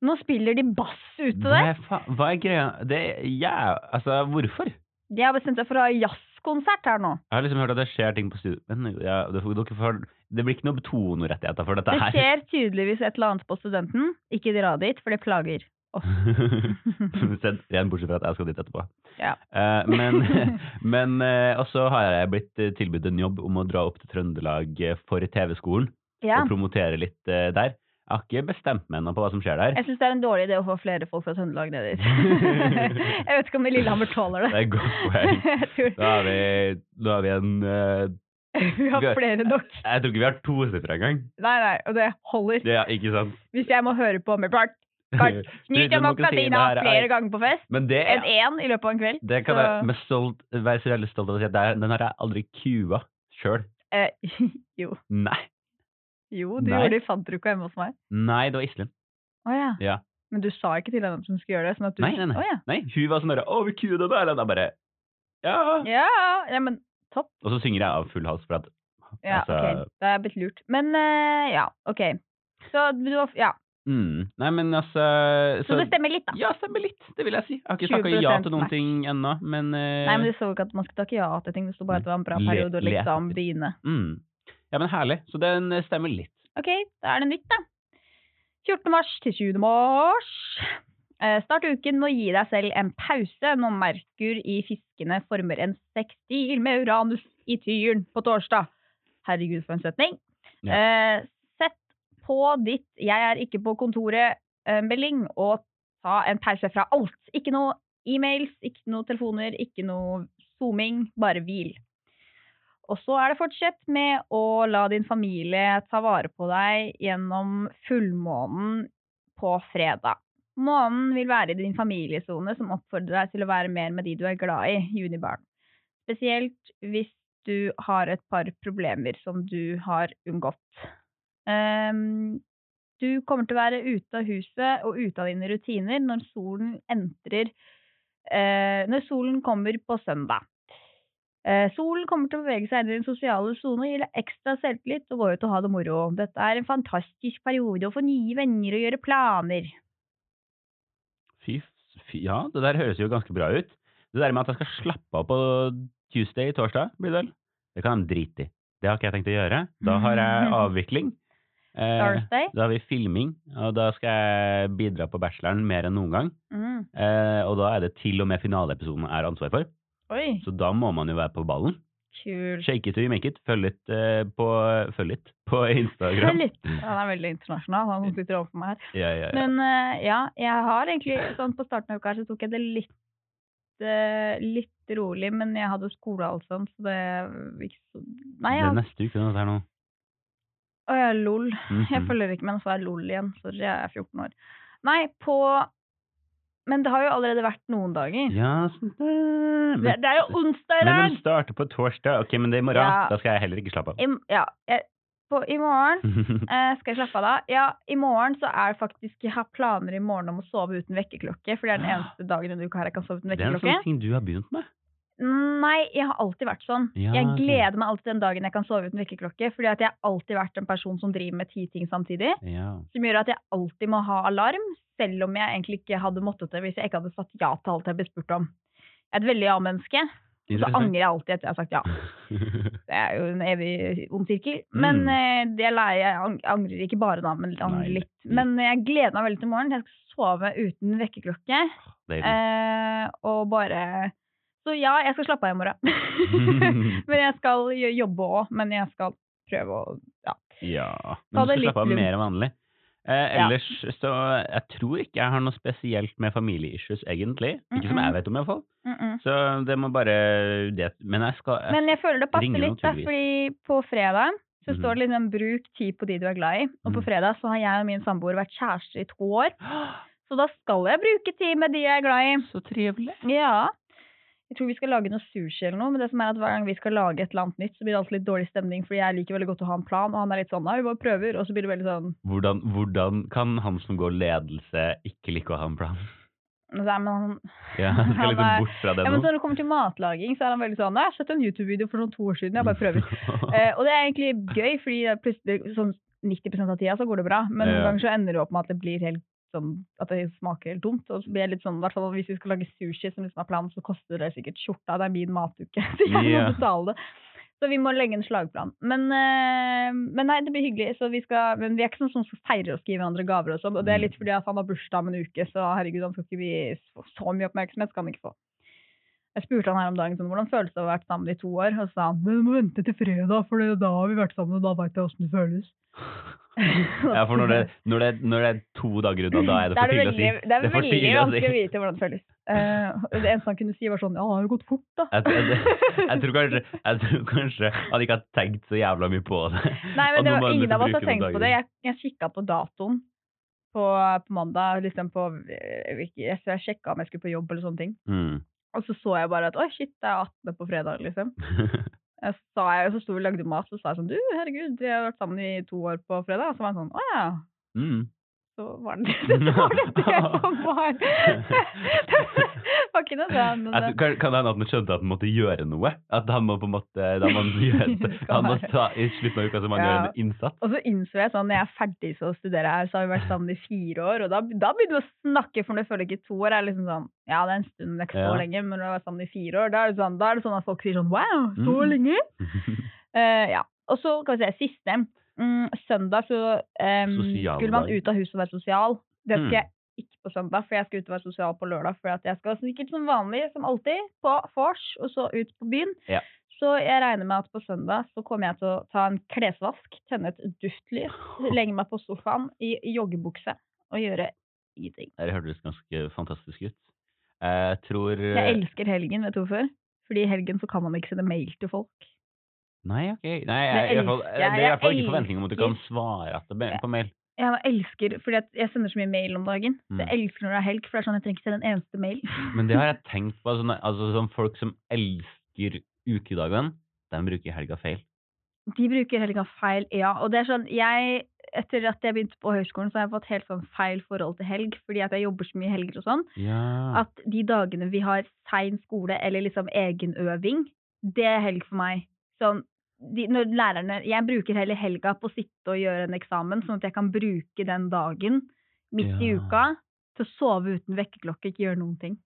S2: Nå spiller de bass ute
S1: Hva
S2: der.
S1: er, fa hva er greia Det er jæv- Altså, hvorfor? Jeg
S2: De har bestemt seg for å ha jazzkonsert her nå.
S1: har liksom hørt at det skjer ting på studio Men ja, det, får, dere får, det blir ikke noe betonorettigheter for dette
S2: Det
S1: her.
S2: skjer tydeligvis et eller annet på studenten. Ikke dra dit, for det plager.
S1: Sett ren bortsett fra at jeg skal dit etterpå.
S2: Ja.
S1: Eh, men men eh, og så har jeg blitt eh, tilbudt en jobb om å dra opp til Trøndelag eh, for TV-skolen
S2: ja.
S1: og promotere litt eh, der. Jeg har ikke bestemt meg ennå på hva som skjer der.
S2: Jeg syns det er en dårlig idé å få flere folk fra Trøndelag ned dit. Jeg vet ikke om det Lillehammer tåler
S1: Det
S2: det.
S1: er et godt poeng.
S2: Jeg tror
S1: Da har vi, da har vi en eh,
S2: vi har flere nok.
S1: Jeg tror ikke vi har tosifra engang.
S2: Nei, nei, og det holder.
S1: Ja, ikke sant?
S2: Hvis jeg må høre på Hummerpart, Kart.
S1: Nytt
S2: nyt
S1: om
S2: om
S1: Oksaldina
S2: Oksaldina flere ganger på fest
S1: Men det,
S2: enn én i løpet av en kveld.
S1: det kan
S2: så-
S1: jeg med stolt, være så veldig stolt av å si at det er- den har jeg aldri kua sjøl.
S2: Eh, jo.
S1: Nei.
S2: Jo, du
S1: Nei.
S2: gjorde det i fadderuka hjemme hos meg.
S1: Nei, det var Iselin.
S2: Å ja.
S1: Ja.
S2: Men du sa ikke til henne at hun skulle gjøre det? Sånn at du...
S1: Nei, nei, nei.
S2: Å, ja.
S1: Nei, hun var sånn derre 'Å, vi kuer den der', og da bare Ja.
S2: Ja, ja, men topp.
S1: Og så synger jeg av full hals, for at
S2: Ja,
S1: altså,
S2: ok. Da er jeg blitt lurt. Men eh, ja, ok. Så du har Ja.
S1: mm, Nei, men altså
S2: Så det stemmer litt, da.
S1: Ja, stemmer litt, det vil jeg si. Jeg har ikke snakka
S2: 20%
S1: ja til noen
S2: match.
S1: ting ennå, men, eh,
S2: Nei, men du så ikke at man skal takke ja til ting. Det sto bare at det var en bra
S1: Le-
S2: periode å
S1: let
S2: liksom
S1: etter.
S2: begynne.
S1: mm. Ja, men herlig. Så den eh, stemmer litt.
S2: Ok, da er det nytt, da. 14. mars til 20. mars. Eh, Start uken med å gi deg selv en pause når Merkur i fiskene former en sexstil med Uranus i tyren på torsdag. Herregud, for en setning.
S1: Ja.
S2: Eh, Sett på ditt 'jeg er ikke på kontoret'-melding og ta en pause fra alt. Ikke noe e-mails, ikke noe telefoner, ikke noe zooming, bare hvil. Og så er det fortsett med å la din familie ta vare på deg gjennom fullmånen på fredag. Månen vil være i din familiesone, som oppfordrer deg til å være mer med de du er glad i, junibarn. Spesielt hvis du har et par problemer som du har unngått. Ehm, du kommer til å være ute av huset og ute av dine rutiner når solen entrer eh, Når solen kommer på søndag. Eh, solen kommer til å bevege seg inn i den sosiale sone og gi deg ekstra selvtillit og gå ut og ha det moro. Dette er en fantastisk periode å få nye venner og gjøre planer.
S1: Fy, fy Ja, det der høres jo ganske bra ut. Det der med at jeg skal slappe av på Tuesday, torsdag, blir det vel? Det kan de drite i. Det har ikke jeg tenkt å gjøre. Da har jeg avvikling. Eh,
S2: Thursday.
S1: da har vi filming, og da skal jeg bidra på bacheloren mer enn noen gang.
S2: Mm.
S1: Eh, og da er det til og med finaleepisoden jeg har ansvar for.
S2: Oi,
S1: Så da må man jo være på ballen.
S2: kult.
S1: Shake it till you make it. Følg litt, eh, på, følg litt på Instagram.
S2: Litt. Han er veldig internasjonal, han som sitter overfor meg her.
S1: Ja, Mm. ja, ja.
S2: Men eh, ja, jeg har egentlig sånn på starten av uka her så tok jeg det litt, eh, litt rolig, men jeg hadde skole og alt sånt, så det ikke så Nei,
S1: Det
S2: jeg,
S1: er neste uke nå, det her nå.
S2: å, jeg er lol. Jeg
S1: Mhm.
S2: følger ikke med, så er jeg lol igjen. Sorry, jeg er 14 år. Nei, på Men det har jo allerede vært noen dager.
S1: Ja, sånn der.
S2: Det,
S1: Men,
S2: det er jo onsdag i
S1: men
S2: dag!
S1: de starter på torsdag. Ok, men det er i morgen.
S2: Ja.
S1: Da skal jeg heller ikke slappe av.
S2: I, ja, jeg, på, I morgen Eh, skal jeg slappe av da? Ja, i morgen så er det faktisk Jeg har planer i morgen om å sove uten vekkerklokke. For det er den eneste dagen i denne uka her jeg kan sove uten
S1: Ah. det er en
S2: vekkerklokke.
S1: sånn ting du har begynt med.
S2: Nei, jeg har alltid vært sånn.
S1: Ja,
S2: jeg
S1: ok.
S2: gleder meg alltid den dagen jeg kan sove uten vekkerklokke, fordi at jeg har alltid vært en person som driver med ti ting samtidig,
S1: Ja.
S2: som gjør at jeg alltid må ha alarm, selv om jeg egentlig ikke hadde måttet det hvis jeg ikke hadde sagt ja til alt jeg ble spurt om. Jeg er et veldig ja-menneske, og så angrer Eh. jeg alltid etter jeg har sagt ja. Det er jo en evig ond sirkel. Men
S1: Mm.
S2: eh, det leier jeg ang- angrer ikke bare da, men angrer
S1: Nei.
S2: litt. Men jeg gleder meg veldig til morgenen. Jeg skal sove uten vekkerklokke.
S1: Det er-
S2: Eh, og bare Så ja, jeg skal slappe av i morgen. men jeg skal jo- jobbe òg. Men jeg skal prøve å ja.
S1: Ja.
S2: Ta
S1: Men du
S2: det
S1: skal
S2: litt
S1: slappe av
S2: lugnt.
S1: mer enn vanlig. Eh,
S2: Ja.
S1: ellers så Jeg tror ikke jeg har noe spesielt med familieissues, egentlig. Ikke som
S2: Mm-mm.
S1: jeg vet om, iallfall.
S2: Mm -mm.
S1: Så det må bare det. Men jeg skal jeg,
S2: Men jeg føler det passer
S1: ringer
S2: litt, da,
S1: naturligvis.
S2: fordi på fredag så
S1: Mhm.
S2: står det liksom 'bruk tid på de du er glad i'. Og på
S1: Mm.
S2: fredag så har jeg og min samboer vært kjærester i to år. Så da skal jeg bruke tid med de jeg er glad i.
S1: Så trivelig.
S2: Ja. Jeg tror vi skal lage noe sushi eller noe, men det som er at hver gang vi skal lage et eller annet nytt, så blir det alltid litt dårlig stemning, fordi jeg liker veldig godt å ha en plan, og han er litt sånn nei, vi bare prøver, og så blir det veldig sånn
S1: Hvordan, hvordan kan han som går ledelse, ikke like å ha en plan?
S2: nei, men han...
S1: Ja, han skal
S2: Han
S1: liksom
S2: er-
S1: bort fra det nå.
S2: Ja, men så når det kommer til matlaging, så er han veldig sånn nei, jeg har sett en YouTube-video for sånn to år siden, jeg bare prøver. Eh, og det er egentlig gøy, fordi det er plutselig sånn 90 av tida så går det bra, men noen
S1: Ja.
S2: ganger så ender det opp med at det blir helt sånn at det smaker helt dumt. Og så blir jeg litt sånn, i hvert fall hvis vi skal lage sushi som liksom er planen, så koster det sikkert skjorta, det er min matuke, så jeg må
S1: Ja.
S2: betale det. Så vi må legge en slagplan. Men, eh, men nei, det blir hyggelig. Så vi skal, men vi er ikke sånn som feirer og skriver hverandre gaver og sånn. Og det er
S1: Mm.
S2: litt fordi at han har bursdag om en uke, så herregud, han skal ikke bli så, så mye oppmerksomhet, skal han ikke få. Jeg spurte han her om dagen sånn, hvordan føles det å ha vært sammen i to år, og så sa han men du må vente til fredag, for det- da har vi vært sammen, og da veit jeg åssen det føles.
S1: Ja, for når det, når, det, når det er to dager unna, da er det
S2: Da
S1: for tidlig å si.
S2: veldig- Det er
S1: Det er for
S2: veldig
S1: tidlig å si.
S2: vanskelig å vite hvordan det føles. Eh, det eneste han kunne si, var sånn ja, det har jo gått fort, da.
S1: Jeg, jeg, jeg, tror kanskje, jeg tror kanskje han ikke har tenkt så jævla mye på det.
S2: Nei, men
S1: At
S2: det
S1: nå
S2: var
S1: må han
S2: ingen
S1: liksom
S2: av oss har
S1: bruke noen
S2: tenkt på
S1: dager.
S2: det. Jeg, jeg kikka på datoen på, på mandag, liksom på eh, hvilke- Jeg, jeg sjekka om jeg skulle på jobb eller sånne ting.
S1: Mm.
S2: Og så så jeg bare at oi, shit, det er 18. på fredag, liksom. Jeg sa, jeg, så sto vi og lagde mat, så sa jeg sånn du, herregud, vi har vært sammen i to år på fredag. Og så var han sånn å ja.
S1: Mm.
S2: Så var det det var det det som var Det var ikke noe sånn. men
S1: Jeg tror- kan, kan det hende at han skjønte at han måtte gjøre noe? At han må på en måte da må han, gjøre,
S2: Skal
S1: han må
S2: være.
S1: ta, I slutten av uka så må han
S2: Ja.
S1: gjøre en innsats?
S2: Og så innså jeg sånn, når jeg er ferdig så å studere her, så har vi vært sammen i fire år, og da, da begynner du å snakke, for når du føler ikke to år, er det liksom sånn, ja, det er en stund, men det er ikke så
S1: Ja.
S2: lenge, men når du har vært sammen i fire år, da er det sånn, da er det sånn at folk sier sånn, wow, så
S1: Mm.
S2: lenge? Eh, ja, og så kan vi se, siste, mm, søndag så em,
S1: Sosial
S2: skulle man
S1: dag.
S2: ut av huset og være sosial. Det skal
S1: Mm.
S2: jeg ikke på søndag, for jeg skal ut og være sosial på lørdag, for at jeg skal sikkert som vanlig, som alltid, på fors, og så ut på byen.
S1: Ja.
S2: Så jeg regner med at på søndag så kommer jeg til å ta en klesvask, tenne et duftlys, legge meg på sofaen i joggebukse og gjøre ingenting.
S1: Det hørtes ganske fantastisk ut. Jeg tror
S2: Jeg elsker helgen, vet du hvorfor? Fordi i helgen så kan man ikke sende mail til folk.
S1: Nei, ok. Nei, jeg,
S2: Jeg
S1: i hvert fall,
S2: elsker-
S1: det er i hvert fall
S2: jeg
S1: ikke forventning om at du kan svare at det be-
S2: Ja.
S1: på mail.
S2: Jeg elsker, fordi at jeg sender så mye mail om dagen. Så
S1: Mm.
S2: jeg elsker når det er helg, for det er sånn jeg trenger ikke sende en eneste mail.
S1: Men det har jeg tenkt på. Sånn, altså, sånn folk som elsker ukedagene, de bruker helga feil.
S2: De bruker helga feil, ja. Og det er sånn, jeg, etter at jeg begynte på høyskolen, så har jeg fått helt sånn feil forhold til helg, fordi at jeg jobber så mye helger og sånn.
S1: Ja.
S2: at de dagene vi har sein skole eller liksom egenøving, det er helg for meg. Sånn, de, når lærerne, jeg bruker heller helga på å sitte og gjøre en eksamen, sånn at jeg kan bruke den dagen midt i
S1: Ja.
S2: uka til å sove uten vekkerklokke, ikke gjøre noen ting.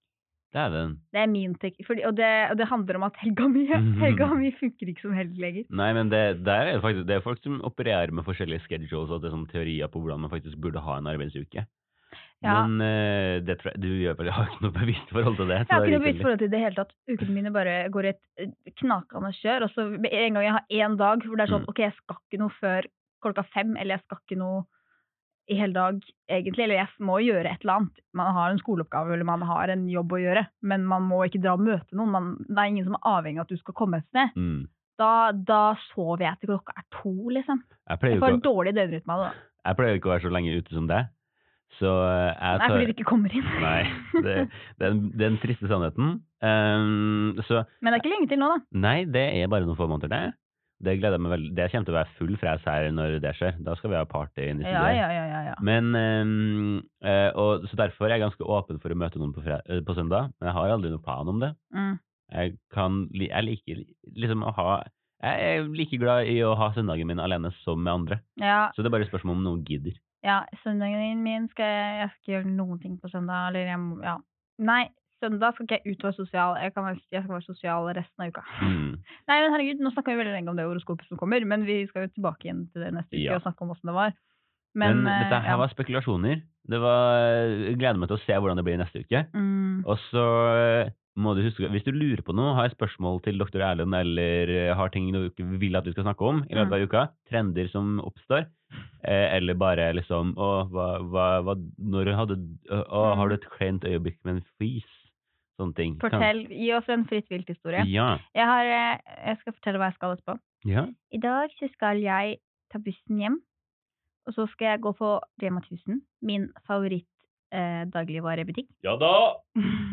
S1: Dæven.
S2: Det er min tek fordi, og, det, og det handler om at helga mi, helga mi funker ikke som helg lenger.
S1: Nei, men det, der er det faktisk det er folk som opererer med forskjellige schedules og det er sånn teorier på hvordan man faktisk burde ha en arbeidsuke.
S2: Ja.
S1: Men eh, det tror jeg, du gjør vel, har ikke noe bevisst forhold til det.
S2: Jeg har ikke noe
S1: det er
S2: bevisst forhold til det i det hele tatt. Ukene mine bare går i et eh, knakende kjør. Og så med en gang jeg har én dag hvor det er sånn
S1: Mm.
S2: OK, jeg skal ikke noe før klokka fem, eller jeg skal ikke noe i hele dag, egentlig. Eller jeg må gjøre et eller annet. Man har en skoleoppgave eller man har en jobb å gjøre, men man må ikke dra og møte noen. Man, det er ingen som er avhengig av at du skal komme et sted.
S1: Mm.
S2: Da, da sover jeg til klokka er to, liksom.
S1: Jeg
S2: Jeg
S1: pleier, jo
S2: får en
S1: ikke,
S2: dårlig døgnrytme av det. da.
S1: å- jeg pleier jo ikke å være så lenge ute som deg. Så eh, jeg
S2: Nei,
S1: tar
S2: fordi det ikke kommer inn.
S1: Nei, det, det er den, det er den triste sannheten. Ehm, så
S2: Men det er ikke lenge til nå, da.
S1: nei, det er bare noen få måneder, det. Det gleder jeg meg veldig Det kommer til å være full fres her når det skjer. Da skal vi ha party inn i
S2: Ja,
S1: studioet.
S2: ja, ja, ja, ja.
S1: Men, ehm, eh, og, så derfor er jeg ganske åpen for å møte noen på, fre eh, på søndag, men jeg har aldri noen plan om det.
S2: Mm.
S1: Jeg, kan, li- jeg liker liksom å ha Jeg er like glad i å ha søndagen min alene som med andre.
S2: ja.
S1: Så det er bare et spørsmål om noen gidder.
S2: Ja, søndagen min skal jeg, jeg skal ikke gjøre noen ting på søndag. Eller jeg må, ja. Nei, søndag skal ikke jeg ut og være sosial. Jeg, kan, være- jeg skal være sosial resten av uka.
S1: Mm.
S2: Nei, men herregud, nå snakka vi veldig lenge om det horoskopet som kommer, men vi skal jo tilbake igjen til det neste uke
S1: Ja.
S2: og snakke om åssen det var.
S1: Men,
S2: Men, eh,
S1: dette her
S2: ja.
S1: var spekulasjoner. Det var, jeg gleder meg til å se hvordan det blir neste uke.
S2: mm,
S1: Og så eh, må du huske, hvis du lurer på noe, har jeg spørsmål til doktor Erlend, eller eh, har ting du ikke vil at vi skal snakke om i løpet
S2: Mm.
S1: av uka, trender som oppstår, eh, eller bare liksom Å, hva, hva, hva når hadde, å, å, har du et kleint øyeblikk med en fis? Sånne ting. Kan-
S2: Mm. Fortell, gi oss en fritt vilt-historie.
S1: Ja.
S2: Jeg, har, eh, jeg skal fortelle hva jeg skal etterpå.
S1: ja.
S2: I dag så skal jeg ta bussen hjem, og så skal jeg gå på Rema 1000, min favoritt eh, dagligvarebutikk.
S1: Ja da!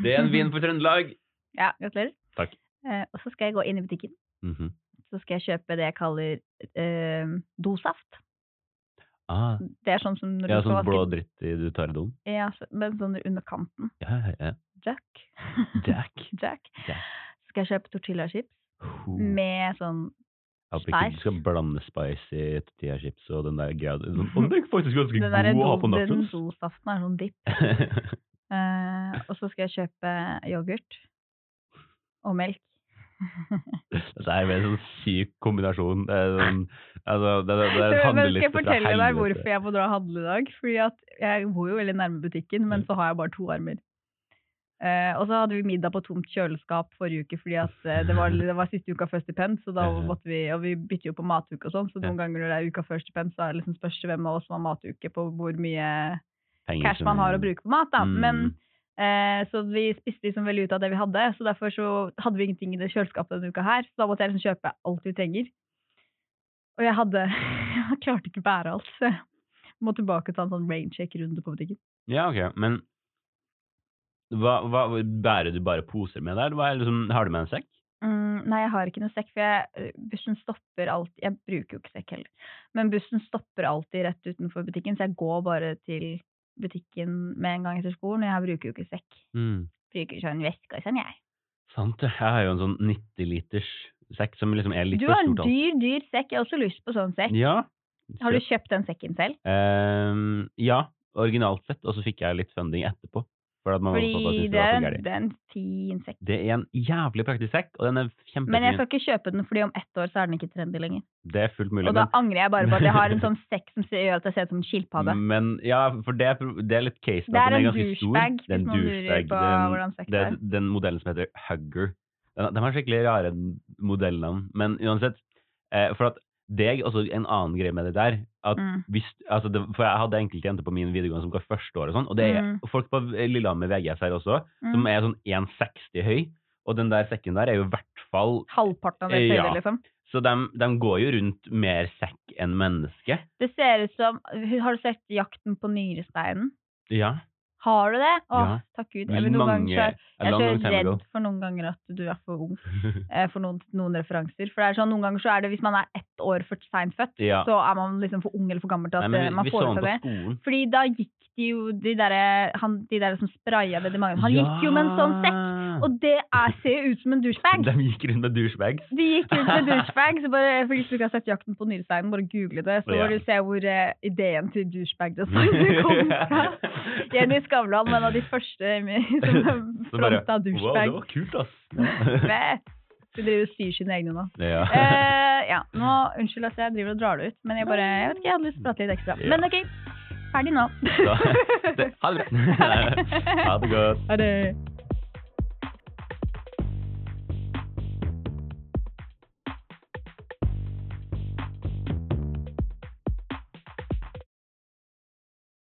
S1: Det er en vin for Trøndelag.
S2: Ja, gratulerer.
S1: Takk.
S2: Eh, og så skal jeg gå inn i butikken,
S1: Mhm.
S2: så skal jeg kjøpe det jeg kaller eh, dosaft.
S1: ah,
S2: Det er sånn som når
S1: ja,
S2: du skal
S1: sånn
S2: vaske
S1: blå dritt i- du tar i doen?
S2: Ja, så- men sånn under kanten.
S1: Ja, ja, ja.
S2: Jack.
S1: Jack.
S2: Jack.
S1: Jack.
S2: Så skal jeg kjøpe tortillachips
S1: Ho.
S2: med sånn
S1: Jeg håper ikke du
S2: Spice.
S1: skal blande spice i tortillachips og den der greia. Den den er faktisk ganske
S2: Den derre
S1: god å ha på
S2: do- den
S1: nachos.
S2: dosaften er sånn dipp. Eh, og så skal jeg kjøpe yoghurt og melk.
S1: Dette er en sånn syk kombinasjon. Det er, sånn, altså, det, det, det er en
S2: Men skal
S1: handleliste
S2: jeg fortelle
S1: fra
S2: deg
S1: helvete.
S2: hvorfor jeg må dra og handle i dag? Fordi at jeg bor jo veldig nærme butikken, men så har jeg bare to armer. Eh, og så hadde vi middag på tomt kjøleskap forrige uke, fordi at eh, det, var, det var siste uka før stipend, så da
S1: Ja.
S2: måtte vi, og vi bytter jo på matuke og sånn, så
S1: Ja.
S2: noen ganger når det er uka før stipend, så er det liksom spørs det hvem av oss som har matuke på hvor mye
S1: Penger
S2: cash
S1: som-
S2: man har å bruke på mat, da.
S1: Mm.
S2: Men Eh, så vi spiste liksom veldig ut av det vi hadde, så derfor så hadde vi ingenting i det kjøleskapet denne uka her. Så da måtte jeg liksom kjøpe alt vi trenger. Og jeg hadde Jeg klarte ikke å bære alt, så jeg må tilbake og ta en sånn raincheck-runde på butikken.
S1: Ja, ok, men hva, hva, bærer du bare poser med deg, eller hva er liksom, har du med en sekk?
S2: Mm, nei, jeg har ikke noe sekk, for jeg, eh, bussen stopper alltid Jeg bruker jo ikke sekk heller. Men bussen stopper alltid rett utenfor butikken, så jeg går bare til butikken med en gang etter skolen. Og jeg bruker jo ikke sekk.
S1: Mm.
S2: Bruker sånn veske og sånn, jeg.
S1: Sant, det. jeg har jo en sånn 90-liters sekk som liksom er litt
S2: Du
S1: for
S2: har en
S1: stort. alt.
S2: dyr, dyr sekk. Jeg har også lyst på sånn sekk.
S1: Ja.
S2: Har du kjøpt den sekken selv?
S1: Ehm, ja, originalt sett, og så fikk jeg litt funding etterpå. For at mamma og pappa
S2: Fordi
S1: syntes
S2: det
S1: det var
S2: er,
S1: så
S2: en,
S1: gærlig.
S2: det er en fin sekk.
S1: Det er en jævlig praktisk sekk, og den er kjempefin.
S2: Men jeg skal ikke kjøpe den, fordi om ett år så er den ikke trendy lenger.
S1: Det er fullt mulig.
S2: Og da angrer jeg bare på at jeg har en sånn sekk som ser- gjør at jeg ser ut som en skilpadde.
S1: men, men ja, for det er, pro- Mm. det er litt case.
S2: Det
S1: at
S2: er
S1: den
S2: en
S1: ganske stor.
S2: douchebag,
S1: Det er
S2: hvis
S1: en
S2: noen lurer
S1: douchebag.
S2: på
S1: Den-
S2: hvordan sekk
S1: Det
S2: det
S1: er
S2: er.
S1: den modellen som heter Hugger. Den, de har skikkelig rare modellnavn. Men uansett, eh, for at det er også en annen greie med det der, at
S2: Mm.
S1: hvis, altså det, for jeg hadde enkelte jenter på min videregående som var første år og sånn, og det er
S2: Mm.
S1: folk på Lillehammer VGS her også, som
S2: Mm.
S1: er sånn 1,60 høy, og den der sekken der er jo i hvert fall
S2: Halvparten av det
S1: Ja.
S2: høyde, liksom.
S1: Så de, går jo rundt mer sekk enn menneske.
S2: Det ser ut som Har du sett Jakten på nyresteinen?
S1: Ja.
S2: Har du det? Å,
S1: Ja.
S2: takk gud. Eller noen
S1: Mange-
S2: ganger så
S1: a
S2: er jeg
S1: long,
S2: er
S1: long
S2: så
S1: time
S2: redd
S1: ago.
S2: for noen ganger at du er for ung eh, for noen, noen referanser. For det er sånn, noen ganger så er det hvis man er ett år for seint født,
S1: Ja.
S2: så er man liksom for ung eller for gammel til
S1: Nei,
S2: at
S1: men
S2: eh,
S1: vi,
S2: man
S1: vi så
S2: får
S1: han
S2: ut av
S1: på
S2: det.
S1: skolen.
S2: Fordi da gikk de jo de derre han- de der som spraya Benny Magnus. Han gikk jo med en sånn sekk,
S1: sekk.
S2: og det er, ser jo ut som en douchebag.
S1: De gikk rundt med douchebags.
S2: De gikk ut med douchebag, så bare for hvis du ikke har sett Jakten på nyresteinen, bare google det, så
S1: Ja.
S2: vil du se hvor eh, ideen til douchebag-designet kom fra. Jenny Skavlan var en av de første som
S1: Så bare,
S2: fronta
S1: Wow, det
S2: douchebag.
S1: var kult, ass.
S2: Vet. Hun driver og syr sine egne nå.
S1: Ja.
S2: Eh, ja, nå, unnskyld at jeg driver og drar det ut, men jeg bare, jeg vet ikke, jeg hadde lyst til å prate litt ekstra.
S1: Ja.
S2: Men ok, ferdig nå.
S1: Det- Ha det bra. Ha det godt.
S2: Ha det.